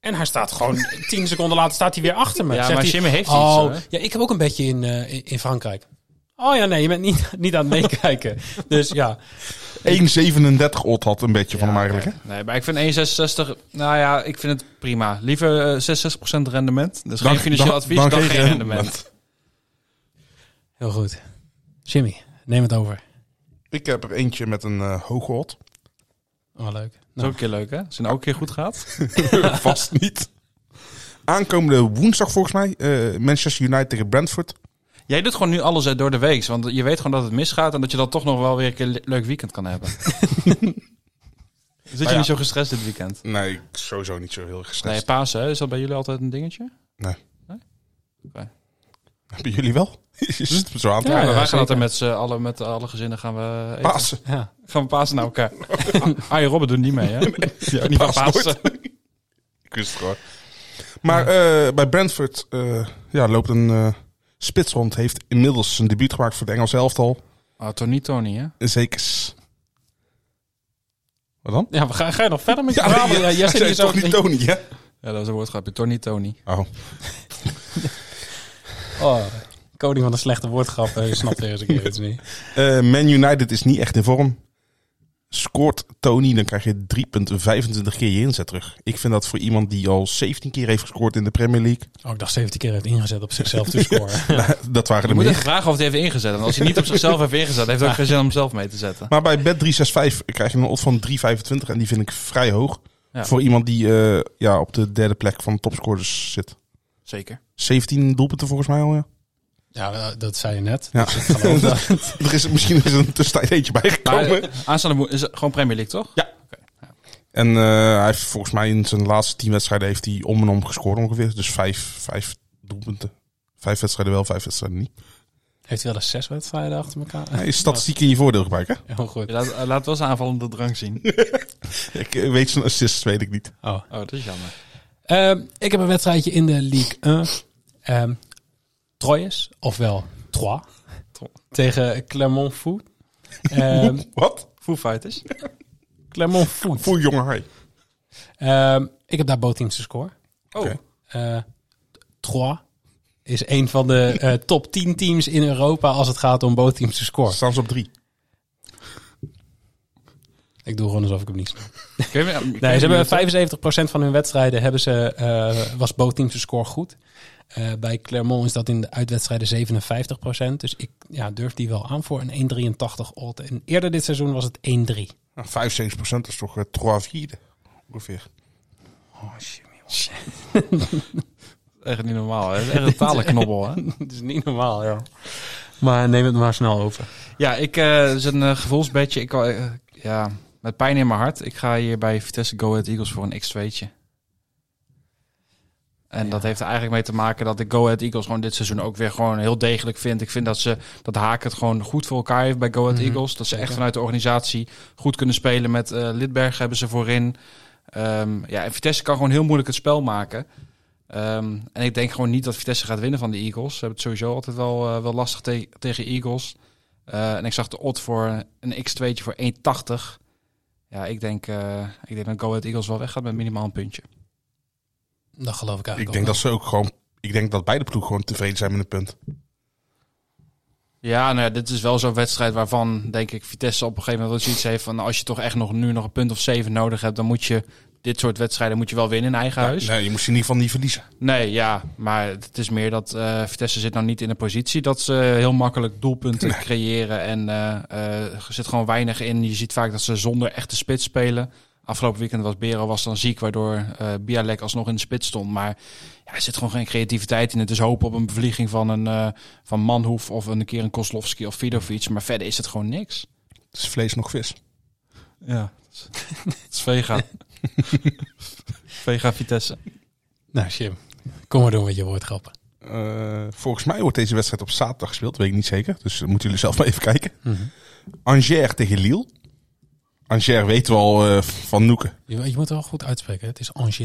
En hij staat gewoon tien seconden later staat hij weer achter me. Ja, Zegt maar hij, Jimmy heeft iets, oh, hoor." Ja, ik heb ook een beetje in, eh, in- in Frankrijk. Oh ja, nee, je bent niet, niet aan het meekijken. dus ja, 1,37 odd had een beetje van hem eigenlijk, hè? Nee, maar ik vind 1,66, nou ja, ik vind het prima. Liever eh, 66% rendement. Dus geen financieel advies, dan, geen rendement. heel goed. Jimmy, neem het over. Ik heb er eentje met een eh hoge odd. Oh, leuk. Dat is ook Nou, een keer leuk, hè? Als het nou ook een keer goed gaat. Vast niet. Aankomende woensdag volgens mij. eh, Manchester United tegen Brentford. Jij doet gewoon nu alles eh, door de week, want je weet gewoon dat het misgaat en dat je dan toch nog wel weer een keer le- leuk weekend kan hebben. Zit je ja. niet zo gestrest dit weekend? Nee, sowieso niet zo heel gestrest. Nee, Pasen, hè? is dat bij jullie altijd een dingetje? Hebben jullie wel? Is het zo aan het Ja, Ja, maar wij zeker. gaan altijd met z'n allen, met alle gezinnen gaan we eten. Pasen. ja. Gaan we Pasen naar elkaar. ah, je Robben doet niet mee, hè? ja, niet van Pasen Pasen. Ik wist het gewoon. Maar eh, bij Brentford eh, ja, loopt een eh, spits rond. Heeft inmiddels zijn debuut gemaakt voor het Engelse elftal. Ah, Tony, Tony, hè? Zekers. Wat dan? ja, we gaan, ga je nog verder met je Ja, verhaal? nee, Ja, jij hij zit zei hier zo... toch niet Tony, hè? Ja, dat is een woordgrapje. Tony, Tony. Oh. Oh, koning van de slechte woordgrappen. Je snapt weer eens een keer iets niet. Eh, Man United is niet echt in vorm. Scoort Tony, dan krijg je 3,25 keer je inzet terug. Ik vind dat voor iemand die al 17 keer heeft gescoord in de Premier League. Oh, ik dacht 70 keer heeft ingezet op zichzelf te scoren. dat waren Je er moet meer. even vragen of hij heeft ingezet. Want als hij niet op zichzelf heeft ingezet, heeft hij ook geen zin om hem zelf mee te zetten. Maar bij Bet365 krijg je een odd van 3,25 en die vind ik vrij hoog. Ja. Voor iemand die eh, ja, op de derde plek van de topscorers zit. Zeker. 17 doelpunten volgens mij al, ja. Ja, dat- dat zei je net. Ja. Dus ik geloof dat. er is, misschien is er een tussentijd eentje Maar, bijgekomen. eh, aanstaande woe- is het gewoon Premier League, toch? En eh, hij heeft volgens mij in zijn laatste tien wedstrijden heeft hij om en om gescoord ongeveer. Dus vijf, vijf doelpunten. Vijf wedstrijden wel, vijf wedstrijden niet. Heeft hij wel eens zes wedstrijden achter elkaar? Hij is statistiek in je voordeel gebruiken. Heel goed. Laat, eh, laat wel zijn aanvallende drang zien. hè? Ik eh, weet zijn assists, weet ik niet. Oh. Oh, dat is jammer. Ehm, ik heb een wedstrijdje in de League 1. Ehm Troyes, ofwel Troyes, Tro- tegen Clermont Foot. Ehm Wat? Foo Fighters. Clermont Foot. Voor jongen hij. Ehm, ik heb daar bootteams te scoren. Oh, Oké. eh Troyes is een van de eh, top 10 teams in Oh. Europa als het gaat om bootteams te scoren. Staan ze op drie. Ik doe gewoon alsof ik hem niet snap. Kun je- kun je Nee, die- ze hebben 75% van hun wedstrijden hebben ze, eh, was bootteams de score goed. Eh, bij Clermont is dat in de uitwedstrijden 57%. Dus ik ja, durf die wel aan voor een 1,83 odd. En eerder dit seizoen was het 1,3. Nou, 75% is toch eh, trois vierde ongeveer. Echt niet normaal. Hè? Echt een talenknobbel. Hè? Dat is niet normaal, ja. Maar neem het maar snel over. Ja, ik eh, het is een eh, gevoelsbedje. Ik, eh, ja, met pijn in mijn hart. Ik ga hier bij Vitesse Go Ahead Eagles voor een x2'tje. En dat heeft er eigenlijk mee te maken dat ik Go Ahead Eagles gewoon dit seizoen ook weer gewoon heel degelijk vind. Ik vind dat ze dat Haak het gewoon goed voor elkaar heeft bij Go Ahead Mhm, Eagles. Dat ze echt zeker. vanuit de organisatie goed kunnen spelen met eh Lidberg hebben ze voorin. Ehm, ja, en Vitesse kan gewoon heel moeilijk het spel maken. Ehm, en ik denk gewoon niet dat Vitesse gaat winnen van de Eagles. Ze hebben het sowieso altijd wel, eh, wel lastig te- tegen Eagles. Eh, en ik zag de odd voor een x2'tje voor 1,80. Ja, ik denk, eh, ik denk dat Go Ahead Eagles wel weggaat met minimaal een puntje. Dat geloof ik eigenlijk Ik ook denk wel. dat ze ook gewoon. Ik denk dat beide ploegen gewoon tevreden zijn met een punt. Ja, nou ja, dit is wel zo'n wedstrijd waarvan, denk ik, Vitesse op een gegeven moment wel zoiets heeft van... nou, als je toch echt nog, nu nog een punt of zeven nodig hebt, dan moet je dit soort wedstrijden moet je wel winnen in eigen huis. Nee, je moest in ieder geval niet verliezen. Nee, ja, maar het is meer dat eh, Vitesse zit nou niet in een positie dat ze heel makkelijk doelpunten creëren. En eh, eh, er zit gewoon weinig in. Je ziet vaak dat ze zonder echte spits spelen. Afgelopen weekend was Bero was dan ziek, waardoor eh Bialek alsnog in de spits stond. Maar ja, er zit gewoon geen creativiteit in. Het is hopen op een bevlieging van een eh, van Manhoef of een keer een Koslovski of Vidovic. Maar verder is het gewoon niks. Het is vlees nog vis. Ja, het is vega. vega Vitesse. Nou, Jim, kom maar doen met je woordgrappen. Eh, volgens mij wordt deze wedstrijd op zaterdag gespeeld. Weet ik niet zeker. Dus eh, moeten jullie zelf maar even kijken. Mhm. Angers tegen Lille. Angers weten we al eh, van Noeken. Je, je moet het wel goed uitspreken. Het is Angers.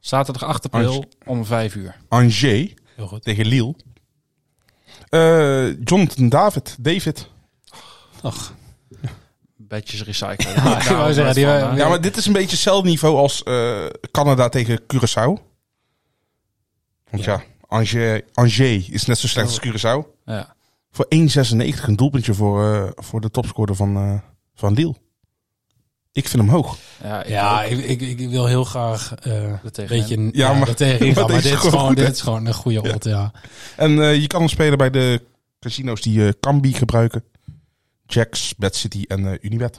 Zaterdag 8 april om 5 uur. Angers Heel goed. tegen Lille. Eh, Jonathan David. David. Ach, Badges recyclen. ik wou Daar zeggen, was die het wa- vandaan. Ja, maar dit is een beetje hetzelfde niveau als eh, Canada tegen Curaçao. Want ja, Angers, Angers is net zo slecht Oh. als Curaçao. Ja. Voor 1,96 een doelpuntje voor, eh, voor de topscorer van, eh, van Lille. Ik vind hem hoog. Ja, ik ja, ook. ik, ik, ik wil heel graag eh, Er een tegenin. beetje ja, Ja, maar- er tegenin gaan. maar Maar, deze dit, is is gewoon gewoon, goed, dit hè? is gewoon een goede Ja. odd, ja. En eh, je kan hem spelen bij de casino's die eh Kambi gebruiken. Jacks, Bad City en eh Unibet.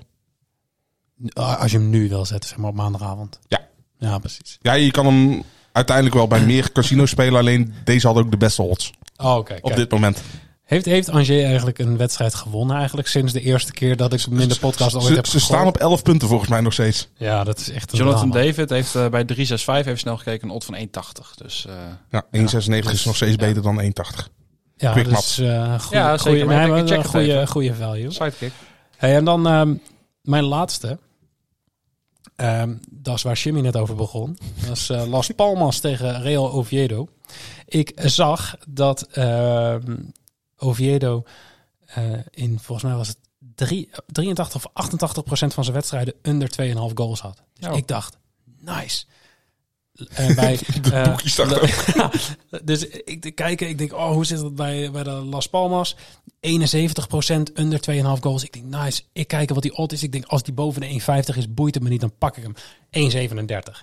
Ah, Als je hem nu wil zetten, zeg maar op maandagavond. Ja. Ja, precies. Ja, je kan hem uiteindelijk wel bij meer casino's spelen. Alleen deze had ook de beste odds Oh, oké. op kijk. dit moment. Heeft, heeft Angers eigenlijk een wedstrijd gewonnen eigenlijk sinds de eerste keer dat ik hem in de podcast ooit Ze, heb ze staan gegooid? op 11 punten volgens mij nog steeds. Ja, dat is echt een Jonathan drama. David heeft eh, bij 365 heeft snel gekeken een odd van 1,80. Dus eh, Ja, 1,96 is nog steeds beter dan 1,80. Ja, Quick dat is eh goede, Ja, zeker, goede, maar nee, ik denk, maar ik check wel het goede, goede value. sidekick. Hey, en dan ehm, mijn laatste. Ehm, dat is waar Jimmy net over begon. Dat is eh, Las Palmas tegen Real Oviedo. Ik zag dat ehm, Oviedo eh, in volgens mij was het drie, 83 of 88 procent van zijn wedstrijden onder 2,5 goals had. Dus Oh. ik dacht, nice. En bij, eh, boekjes dachten Ja, dus ik te kijken, ik denk, oh, hoe zit dat bij, bij de Las Palmas? 71% onder 2,5 goals. Ik denk, nice. Ik kijk wat die odd is. Ik denk, als die boven de 1,50 is, boeit het me niet, dan pak ik hem. 1,37.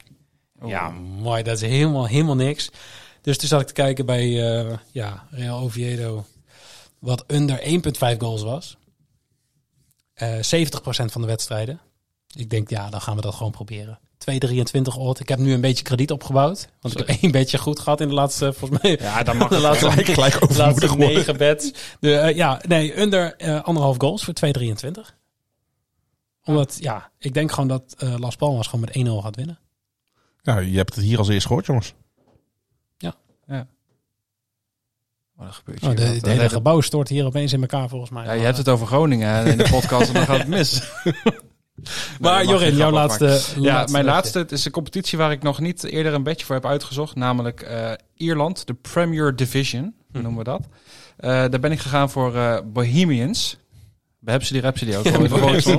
Ja, mooi. Dat is helemaal, helemaal niks. Dus toen zat ik te kijken bij eh, ja, Real Oviedo, wat onder 1,5 goals was. Eh 70% van de wedstrijden. Ik denk, ja, dan gaan we dat gewoon proberen. 2,23 odd. Ik heb nu een beetje krediet opgebouwd. Want ik heb één beetje goed gehad in de laatste, volgens mij, Ja, dan mag de het. laatste, Gelijk, gelijk de laatste overmoedig worden. negen bets. De, eh, ja, nee, onder eh, anderhalf goals voor 2,23. Omdat, ja, ik denk gewoon dat eh Las Palmas gewoon met 1-0 gaat winnen. Nou, je hebt het hier als eerst gehoord, jongens. Oh, dat gebeurt Oh, hier de, wat. het Dat hele heet- gebouw stort hier opeens in elkaar volgens mij. ja, je hebt het over Groningen hè, in de podcast en dan gaat het mis. maar mag Jorin, geen jouw grap laatste, Ja, laatste mijn wedstrijd. laatste. Het is een competitie waar ik nog niet eerder een bedje voor heb uitgezocht. Namelijk eh, Ierland, de Premier Division Hm. noemen we dat. Eh, daar ben ik gegaan voor eh, Bohemians. Bij Rhapsody Rhapsody ook.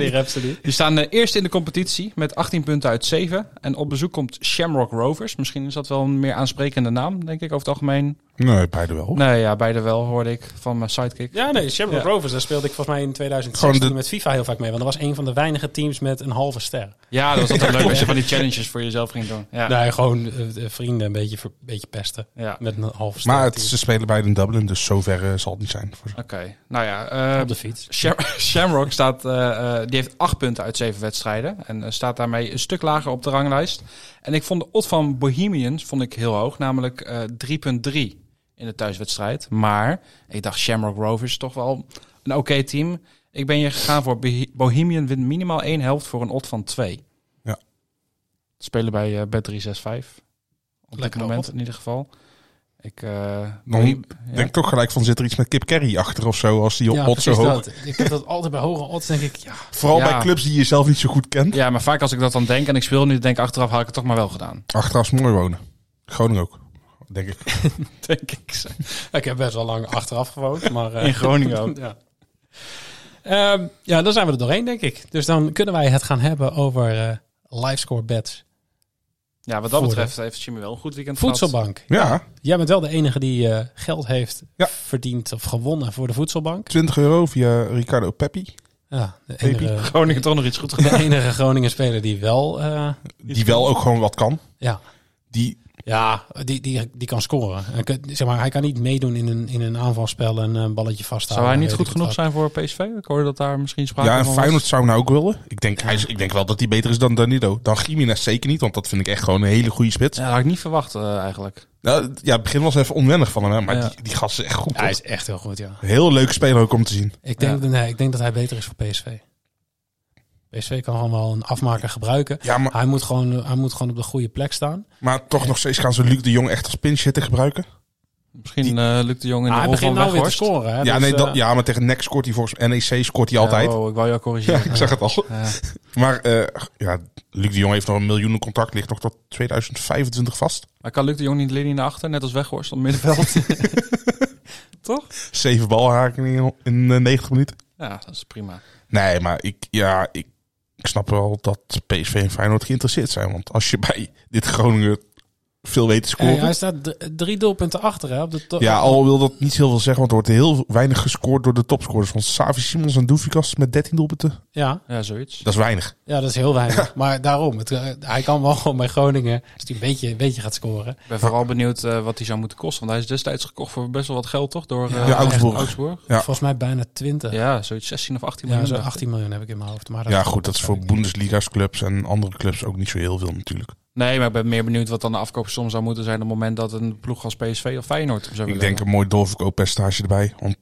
Rhapsody Die staan eh, eerst in de competitie met 18 punten uit 7. En op bezoek komt Shamrock Rovers. Misschien is dat wel een meer aansprekende naam, denk ik, over het algemeen. Nee, beide wel. Oh. Nee, ja, beide wel, hoorde ik van mijn sidekick. Ja, nee, Shamrock Ja. Rovers, daar speelde ik volgens mij in 2016 Gewoon de- met FIFA heel vaak mee. Want dat was een van de weinige teams met een halve ster. Ja, dat was altijd leuk als je van die challenges voor jezelf ging doen. Ja, Nee, gewoon eh, eh, vrienden een beetje, ver- beetje pesten. ja. oké. Met een halve ster. Maar het, team. ze spelen beide in Dublin, dus zover eh, zal het niet zijn. Voor ze. Nou ja, eh, op de fiets. Sham- Shamrock staat, eh, eh, die heeft acht punten uit zeven wedstrijden. En eh, staat daarmee een stuk lager op de ranglijst. En ik vond de odd van Bohemians vond ik heel hoog. Namelijk eh, 3,3 in de thuiswedstrijd. Maar ik dacht Shamrock Rovers is toch wel een oké team. Ik ben hier gegaan voor Bohe- Bohemian wint minimaal één helft voor een odd van 2. Ja. Spelen bij eh Bet365. Op dit Lekker moment odd. in ieder geval. Ik eh, Dan Bohem- Ik denk toch gelijk van, zit er iets met Kip Carry achter of zo, als die op pot zo precies hoog... dat. Ik heb dat altijd bij hoge odds, denk ik. Ja, Vooral Ja. bij clubs die je zelf niet zo goed kent. Ja, maar vaak als ik dat dan denk en ik speel nu, denk ik achteraf had ik het toch maar wel gedaan. Achteraf is mooi wonen. Groningen ook, denk ik. Denk ik. ik heb best wel lang achteraf gewoond. Maar, eh, In Groningen ook. ja. Ehm, ja, dan zijn we er doorheen, denk ik. Dus dan kunnen wij het gaan hebben over eh livescore bets. Ja, wat dat Voordeel. betreft heeft Jimmy wel een goed weekend gehad. Voedselbank. Ja, Jij bent wel de enige die eh, geld heeft Ja. verdiend of gewonnen voor de voedselbank. 20 euro via Ricardo Peppi. Ja, de Baby. enige, Groningen toch nog iets goed gedaan. de enige Groningen speler die wel... eh, Die wel ook gewoon wat kan. ja, Die, ja die, die, die kan scoren. Hij kan- zeg maar, hij kan niet meedoen in een, in een aanvalspel en een balletje vasthouden. Zou hij niet weet goed ik genoeg wat. zijn voor PSV? Ik hoorde dat daar misschien sprake ja, en van Feyenoord zou hem nou ook willen. Ik denk, hij is, ik denk wel dat hij beter is dan Danilo. Dan Jiménez zeker niet, want dat vind ik echt gewoon een hele goede spits. Ja, dat had ik niet verwacht eh, eigenlijk. Nou, ja, het begin was even onwennig van hem, hè, maar Ja. die, die gast is echt goed. Ja, hij hoor. is echt heel goed, ja. Heel leuk speler ook om te zien. Ik denk, nee, ik denk dat hij beter is voor PSV. PSV kan gewoon wel een afmaker gebruiken. Ja, maar, Hij moet gewoon, hij moet gewoon op de goede plek staan. maar toch nog steeds gaan ze Luc de Jong echt als pinch hitter gebruiken. Misschien eh, lukt de jongen in Maar de hij rol begint van nou weer te Weghorst. scoren. Hè? ja, Dus, nee, eh, dat, ja, maar tegen NEC scoort hij volgens NEC scoort hij altijd. Ja, wow, ik wou jou corrigeren. Ja, ik zag het al. Ja. Maar eh, ja, Luc de Jong heeft nog een miljoenen contract, ligt nog tot 2025 vast. Maar kan Luc de Jong niet Liddy naar achter, net als Weghorst op het middenveld? Zeven balhaken in, in eh, 90 minuten. ja, dat is prima. Nee, maar ik, ja, ik, ik snap wel dat PSV en Feyenoord geïnteresseerd zijn. Want als je bij dit Groningen veel weet te hey, scoren... hij staat d- drie doelpunten achter. Hè, op de to- ja, al wil dat niet heel veel zeggen, want er wordt heel weinig gescoord door de topscorers. Want Savi Simons en Doefikas met 13 doelpunten, ja, Ja, zoiets. dat is weinig. ja, dat is heel weinig. Maar daarom, het, eh, hij kan wel gewoon bij Groningen, als hij een beetje, een beetje gaat scoren. Ik ben vooral benieuwd eh, wat hij zou moeten kosten. Want hij is destijds gekocht voor best wel wat geld, toch? Door eh, Ja, Augsburg. Augsburg. Ja. Volgens mij bijna 20. Ja, Ja, zoiets 16 of 18 zo miljoen. 18 miljoen heb ik in mijn hoofd. Maar dat Ja, goed, dat is voor Bundesliga's clubs en andere clubs ook niet zo heel veel natuurlijk. Nee, maar ik ben meer benieuwd wat dan de afkoopsom zou moeten zijn op het moment dat een ploeg als PSV of Feyenoord hem zou Ik willen denk een mooi doorverkooppercentage erbij, want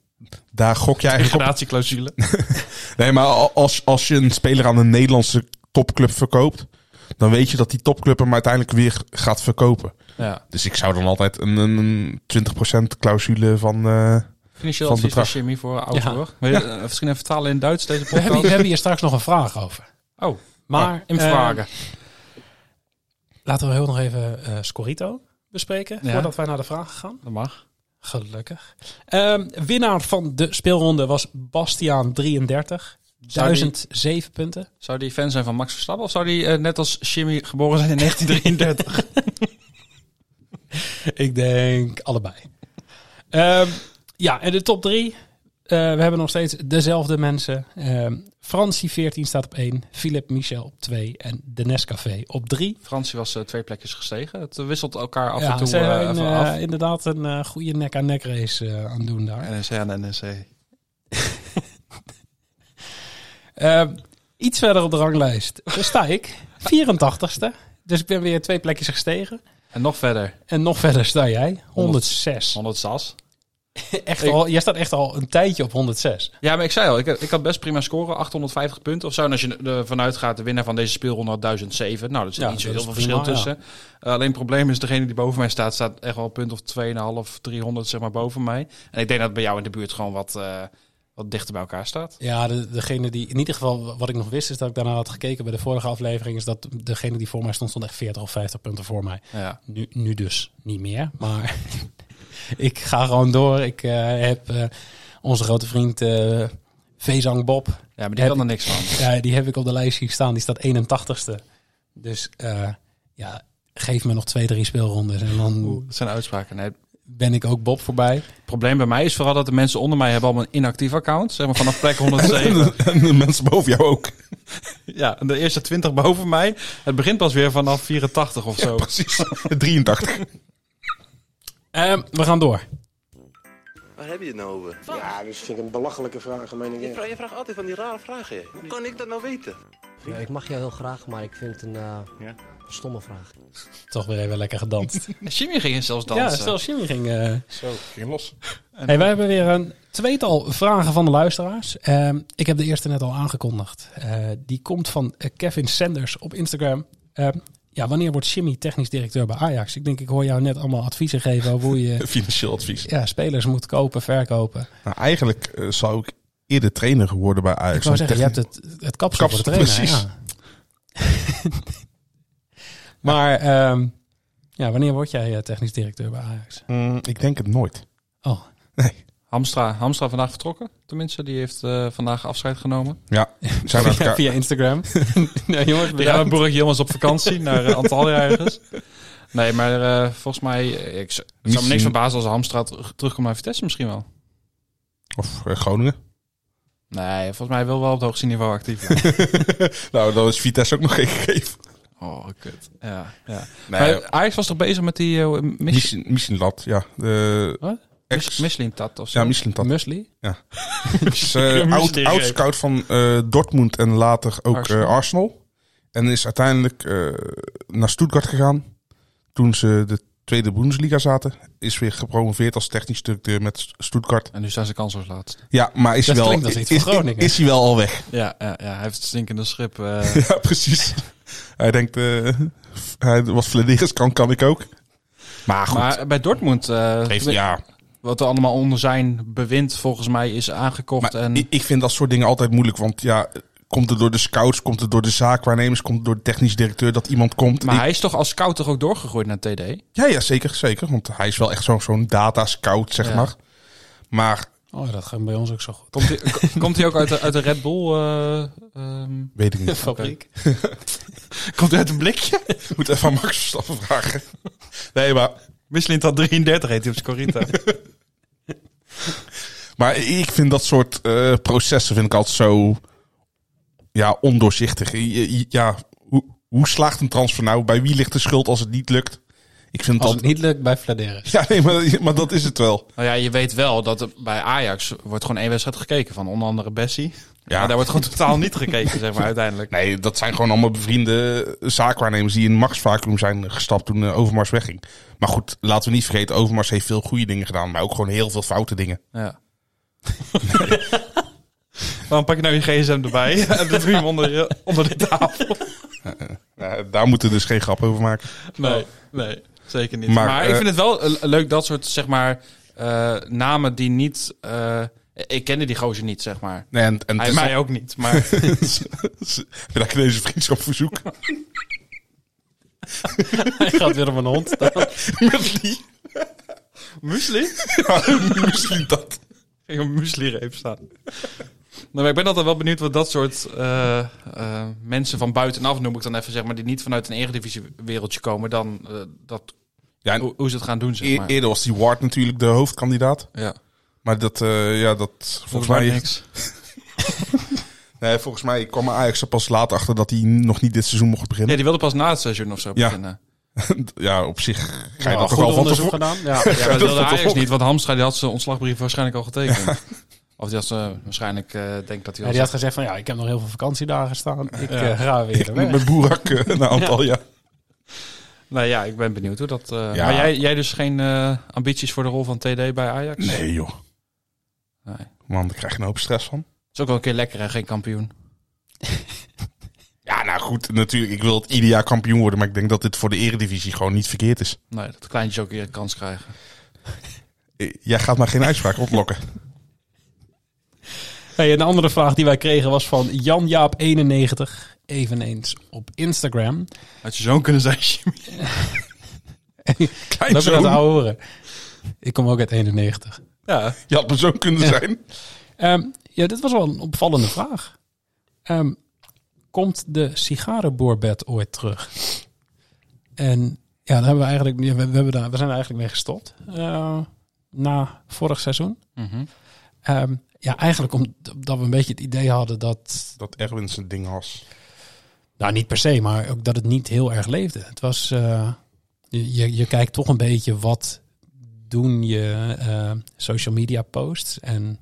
daar gok je hebben. eigenlijk op. Degradatieclausule. Nee, maar al- als, als je een speler aan een Nederlandse topclub verkoopt, dan weet je dat die topclub hem uiteindelijk weer gaat verkopen. ja. Dus ik zou dan altijd een, een 20% clausule van... eh, Financieel Van advies van bedrag. Jimmy voor Augsburg. Wil je, eh, misschien even vertalen in Duits deze We hebben, podcast. we hebben hier straks nog een vraag over. Oh, maar in eh, vragen. laten we heel nog even eh Scorito bespreken Ja. voordat wij naar de vraag gaan. Dat mag. Gelukkig. Ehm, winnaar van de speelronde was Bastiaan 33. Zou die- 1007 punten. Zou die fan zijn van Max Verstappen of zou die eh, net als Jimmy geboren zijn in 1933? Ik denk allebei. Ehm, ja, en de top drie. Eh, we hebben nog steeds dezelfde mensen. Ehm Francie 14 staat op 1. Philip Michel op 2. En de Nescafé op 3. Fransie was eh, twee plekjes gestegen. Het eh, wisselt elkaar af en Ja, toe ze eh, zijn even eh, af. inderdaad een eh, goede nek-aan-nek race eh, aan het doen daar. NEC aan NEC. Ehm, iets verder op de ranglijst sta ik. 84ste. Dus ik ben weer twee plekjes gestegen. En nog verder, En nog verder sta jij. 106. 100 SAS. Echt Ik- al, jij staat echt al een tijdje op 106. Ja, maar ik zei al, ik, ik had best prima scoren, 850 punten of zo. En als je ervan uitgaat, de winnaar van deze speelronde had 1007. Nou, dat is Ja, niet zo dat heel is veel prima, verschil tussen. Uh, alleen het probleem is, degene die boven mij staat, staat echt wel een punt of 2,5, 300 zeg maar boven mij. En ik denk dat het bij jou in de buurt gewoon wat, eh, wat dichter bij elkaar staat. Ja, de, degene die in ieder geval wat ik nog wist is dat ik daarna had gekeken bij de vorige aflevering is dat degene die voor mij stond stond echt 40 of 50 punten voor mij. Ja. Nu, nu dus niet meer, maar ik ga gewoon door. Ik eh, heb eh, onze grote vriend eh Vezang Bob, ja, maar die Heb kan er niks van. ja, die heb ik op de lijst hier staan. Die staat 81ste. Dus eh, ja, geef me nog twee, drie speelrondes en dan Dat zijn uitspraken. Nee, ben ik ook Bob voorbij. Het probleem bij mij is vooral dat de mensen onder mij hebben allemaal een inactief account. Zeg maar vanaf plek 107. en de mensen boven jou ook. ja, de eerste 20 boven mij. Het begint pas weer vanaf 84 of zo. Precies. 83. Ehm, we gaan door. Waar heb je het nou over? Ja, dat vind ik een belachelijke vraag, meen ik. Je, vra- je vraagt altijd van die rare vragen. hè. Hoe kan ik dat nou weten? Ik mag jou heel graag, maar ik vind het een eh, Ja? stomme vraag. Toch weer even lekker gedanst. Jimmy ging zelfs dansen. Ja, stel Jimmy ging... eh, Zo, ging los. Hey, wij hebben weer een tweetal vragen van de luisteraars. Ehm, ik heb de eerste net al aangekondigd. Eh, die komt van eh, Kevin Sanders op Instagram. Ehm, ja, wanneer wordt Jimmy technisch directeur bij Ajax? Ik denk, ik hoor jou net allemaal adviezen geven over hoe je Financieel advies. ja, spelers moet kopen, verkopen. Nou, eigenlijk eh, zou ik eerder trainer geworden bij Ajax. Ik zou zeggen, je Want hebt het, het kapsel voor de Kapsel, trainer. precies. Ja. maar ehm, ja, wanneer word jij eh, technisch directeur bij Ajax? technisch- Mm, ik denk het nooit. Oh, Hamstra, Hamstra vandaag vertrokken. Tenminste, die heeft eh, vandaag afscheid genomen. Ja, zijn we aan via, elkaar- via Instagram. nee, jongens, Ja, bedankt. Boerik jongens op vakantie naar eh, Antalya ergens. Nee, maar eh, volgens mij... eh, ik z- het zou me Misschien- niks verbazen als Hamstra terug- terugkomt naar Vitesse misschien wel. Of eh, Groningen. Nee, volgens mij wil wel op het hoogste niveau actief blijven. Nou, dan is Vitesse ook nog geen gegeven. oh, kut. Ja, ja. Nee, Maar Ajax was toch bezig met die eh mis, Michelin- Michelinlat, ja. De Wat? Ex, mis, Mislintat of zo. ja, Michelintat. Musli? Is, eh, oud, oud scout van eh, Dortmund en later ook eh, Arsenal. Arsenal. En is uiteindelijk eh, naar Stuttgart gegaan. Toen ze de tweede Bundesliga zaten. Is weer gepromoveerd als technisch directeur met Stuttgart. En nu staan ze kansloos laat. Ja, maar is, Dat wel, klinkt als is, iets van Groningen. is hij wel al weg. Ja, ja, ja, hij heeft het stinkende schip. eh. ja, precies. hij denkt, eh, f- hij was Vladeris, kan, kan ik ook. Maar goed, maar bij Dortmund, eh, heeft, ja, wat er allemaal onder zijn bewind volgens mij is aangekocht. Maar en ik, ik vind dat soort dingen altijd moeilijk. Want ja, komt het door de scouts, komt het door de zaakwaarnemers, komt het door de technisch directeur dat iemand komt. Maar Ik- hij is toch als scout toch ook doorgegroeid naar TD? ja, ja, zeker, zeker. Want hij is wel echt zo'n zo'n data scout, zeg Ja. maar. Maar Oh, dat gaat bij ons ook zo goed. Komt hij, ko- komt hij ook uit de, uit de Red Bull? eh, ehm, weet ik niet. fabriek. komt hij uit een blikje? Moet even aan Max Verstappen vragen. Nee, maar, Michelin had 33 heet hij op Scorita. maar ik vind dat soort eh, processen vind ik altijd zo ja, ondoorzichtig. Je- je- Ja, hoe, hoe slaagt een transfer nou? Bij wie ligt de schuld als het niet lukt? Ik vind het Als het altijd... niet lukt, bij Fladeren. Ja, nee, maar, maar dat is het wel. nou ja, je weet wel dat er bij Ajax wordt gewoon één wedstrijd gekeken van onder andere Bessie. Ja. Maar daar wordt gewoon totaal niet gekeken, zeg maar, uiteindelijk. Nee, dat zijn gewoon allemaal bevriende zaakwaarnemers die in machtsvacuum zijn gestapt toen eh, Overmars wegging. Maar goed, laten we niet vergeten, Overmars heeft veel goede dingen gedaan, maar ook gewoon heel veel foute dingen. Ja. Waarom pak je nou je gsm erbij en doe je hem onder, je- onder de tafel? Nou, daar moeten we dus geen grap over maken. Nee, nee, zeker niet. Oh. Maar, Maar, eh, ik vind het wel eh, leuk dat soort, zeg maar, eh, namen die niet... eh, ik kende die gozer niet, zeg maar. Nee, en, en Hij mij ook niet, maar... dat deze vriendschap verzoek. Hij gaat weer op een hond. Musli? Misschien dat. Ging een muesli-reep staan. Nou, maar ik ben altijd wel benieuwd wat dat soort eh, eh, mensen van buitenaf, noem ik dan even, zeg maar, die niet vanuit een eredivisie-wereldje komen, dan eh, dat, Ja, en hoe, hoe ze het gaan doen, zeg e- maar. eerder was die Ward natuurlijk de hoofdkandidaat. ja, Maar dat, eh, ja, dat volgens mij... Nee, volgens mij kwam Ajax er pas laat achter dat hij nog niet dit seizoen mocht beginnen. Nee, die wilde pas na het seizoen of zo Ja. beginnen. Ja, op zich ga je Ja, dat toch goed wel van onderzoek tevoren... gedaan. Ja. Ja, maar dat wilde Dat Ajax ook. niet, want Hamstra die had zijn ontslagbrief waarschijnlijk al getekend. Of die had ze waarschijnlijk, eh denk dat Ja, hij al... die had gezegd van ja, ik heb nog heel veel vakantiedagen staan. Ik Ja. eh, ga weer. Met weg. mijn boerak eh, naar Antalya. Nou ja, ik ben benieuwd hoe dat... eh, Ja. Maar jij, jij dus geen eh, ambities voor de rol van TD bij Ajax? Nee joh. Nee. Man, daar krijg je een hoop stress van. is ook wel een keer lekker en geen kampioen. Ja, nou goed, natuurlijk. Ik wil het ieder jaar kampioen worden. Maar ik denk dat dit voor de eredivisie gewoon niet verkeerd is. Nee, dat kleintjes ook weer een kans krijgen. Eh, Jij gaat maar geen uitspraak ontlokken. Hey, een andere vraag die wij kregen was van Jan-Jaap91, eveneens op Instagram. Had je zoon kunnen zijn, Jimmy. Leuk dat oude horen. Ik kom ook uit 91. Ja. Je had me zo kunnen Ja. zijn. Ehm, ja, dit was wel een opvallende vraag. Ehm, komt de sigarenboorbed ooit terug? En Ja, daar hebben we eigenlijk, we, we hebben daar, we zijn er eigenlijk mee gestopt. eh, na vorig seizoen. Mhm. Ehm, ja, eigenlijk omdat we een beetje het idee hadden dat Dat Erwin zijn ding was. Nou, niet per se, maar ook dat het niet heel erg leefde. Het was, eh, je, je kijkt toch een beetje wat doen je eh, social media posts. En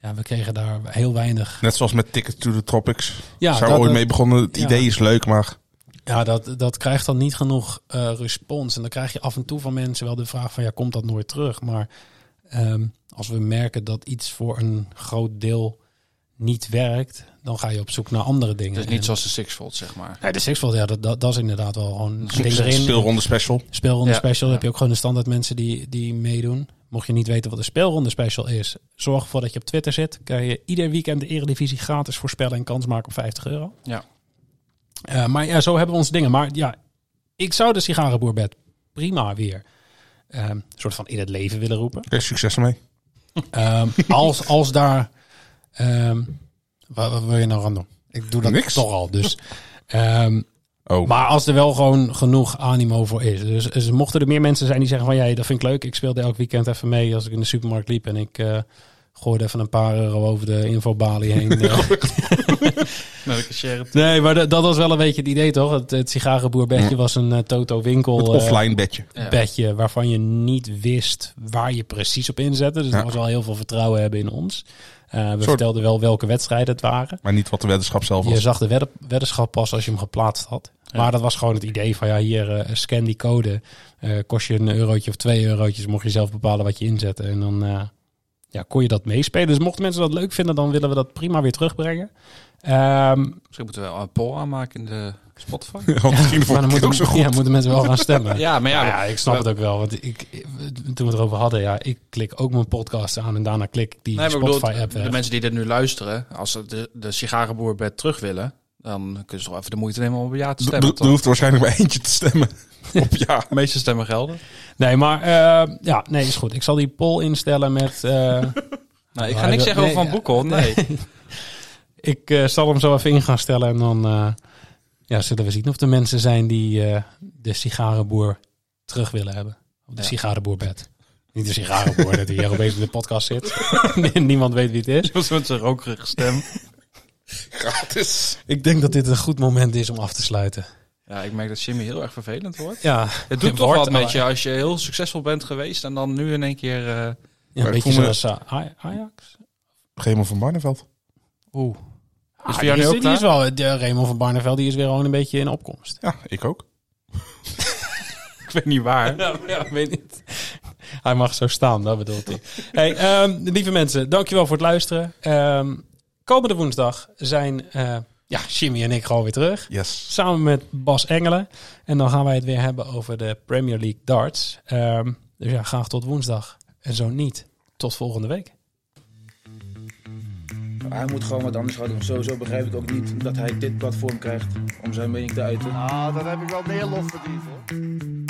ja, we kregen daar heel weinig. Net zoals met Ticket to the Tropics. Ja, Zijn we dat- ooit mee begonnen. Het ja. idee is leuk, maar Ja, dat, dat krijgt dan niet genoeg eh, respons. En dan krijg je af en toe van mensen wel de vraag van, ja, komt dat nooit terug? Maar ehm, als we merken dat iets voor een groot deel niet werkt, dan ga je op zoek naar andere dingen. Dus niet En- zoals de Sixfold, zeg maar. Nee, de Sixfold, ja, dat, dat, dat is inderdaad wel gewoon... een ding een erin. speelronde special. Speelronde Ja. special heb je ook gewoon de standaard mensen die, die meedoen. Mocht je niet weten wat een speelronde special is, zorg ervoor dat je op Twitter zit. Kan je ieder weekend de Eredivisie gratis voorspellen en kans maken op 50 euro. Ja. Eh, maar ja, zo hebben we onze dingen. Maar ja, ik zou de sigarenboerbed prima weer ehm, een soort van in het leven willen roepen. Oké, succes ermee. Ehm, als, als daar. ehm, wat, wat wil je nou aan doen? Ik doe dat Niks. toch al. Dus. ehm, Oh. maar als er wel gewoon genoeg animo voor is. Dus, dus mochten er meer mensen zijn die zeggen van... ja, dat vind ik leuk. Ik speelde elk weekend even mee als ik in de supermarkt liep... en ik eh, gooide even een paar euro over de infobalie heen. Eh, nee, maar dat, dat was wel een beetje het idee, toch? Het, het sigarenboerbedje was een eh, Het Toto-winkel... offline bedje. bedje waarvan je niet wist waar je precies op inzette. Dus Ja. er was wel heel veel vertrouwen hebben in ons. Eh, we Soort- vertelden wel welke wedstrijden het waren. Maar niet wat de weddenschap zelf was. Je zag de wedden- weddenschap pas als je hem geplaatst had. Maar dat was gewoon het idee van ja, hier eh, scan die code. Eh, kost je een eurotje of twee eurotjes, mocht je zelf bepalen wat je inzette. En dan eh, ja, kon je dat meespelen. Dus mochten mensen dat leuk vinden, dan willen we dat prima weer terugbrengen. Ehm, Misschien moeten we wel een poll aanmaken in de Spotify. Want misschien maar vond dan ik het moeten, ook zo goed. ja, moeten mensen wel gaan stemmen. Ja, maar ja, Nou ja, ik snap het ook wel. Want ik, ik- toen we het erover hadden, ja, ik klik ook mijn podcast aan en daarna klik ik die Nee, maar ik bedoel, Spotify-app de weg. mensen die dit nu luisteren, als ze de, de sigarenboerbed terug willen, dan kunnen ze toch even de moeite nemen om op ja te Er- stemmen. Er er toch? hoeft waarschijnlijk maar eentje te stemmen. Op ja. De meeste stemmen gelden. Nee, maar eh, ja, nee, is goed. Ik zal die poll instellen met... eh, Nou, ik Maar ga hij niks wil- zeggen over nee, Van ja. Boekel, nee. ik eh, zal hem zo even in gaan stellen en dan eh, ja, zullen we zien of er mensen zijn die eh, de sigarenboer terug willen hebben. Op de Ja. sigarenboerbed. Niet de sigarenboer, dat hij hier opeens in de podcast zit. Niemand weet wie het is. Zoals met zijn rokerige stem. Ik denk dat dit een goed moment is om af te sluiten. Ja, ik merk dat Jimmy heel erg vervelend wordt. Ja, Het doet toch wordt, wat met maar- je als je heel succesvol bent geweest en dan nu in één keer... Ja, eh, een Maar ik beetje voel me- zoals eh, Aj- Ajax. Raymond van Barneveld. Oeh. is voor Ah, die jou nu is, ook die klaar? is wel, de Raymond van Barneveld die is weer gewoon een beetje in opkomst. Ja, ik ook. Ik weet niet waar. Ja, ik weet niet. Hij mag zo staan, dat bedoelt hij. Hey, ehm, lieve mensen, dankjewel voor het luisteren. Ehm, komende woensdag zijn eh, ja, Jimmy en ik gewoon weer terug. Yes. Samen met Bas Engelen. En dan gaan wij het weer hebben over de Premier League darts. Ehm, dus ja, graag tot woensdag. En zo niet, tot volgende week. Hij moet gewoon wat anders gaan doen. Sowieso begrijp ik ook niet dat hij dit platform krijgt om zijn mening te uiten. Ah, dat heb ik wel meer lof verdiend hoor.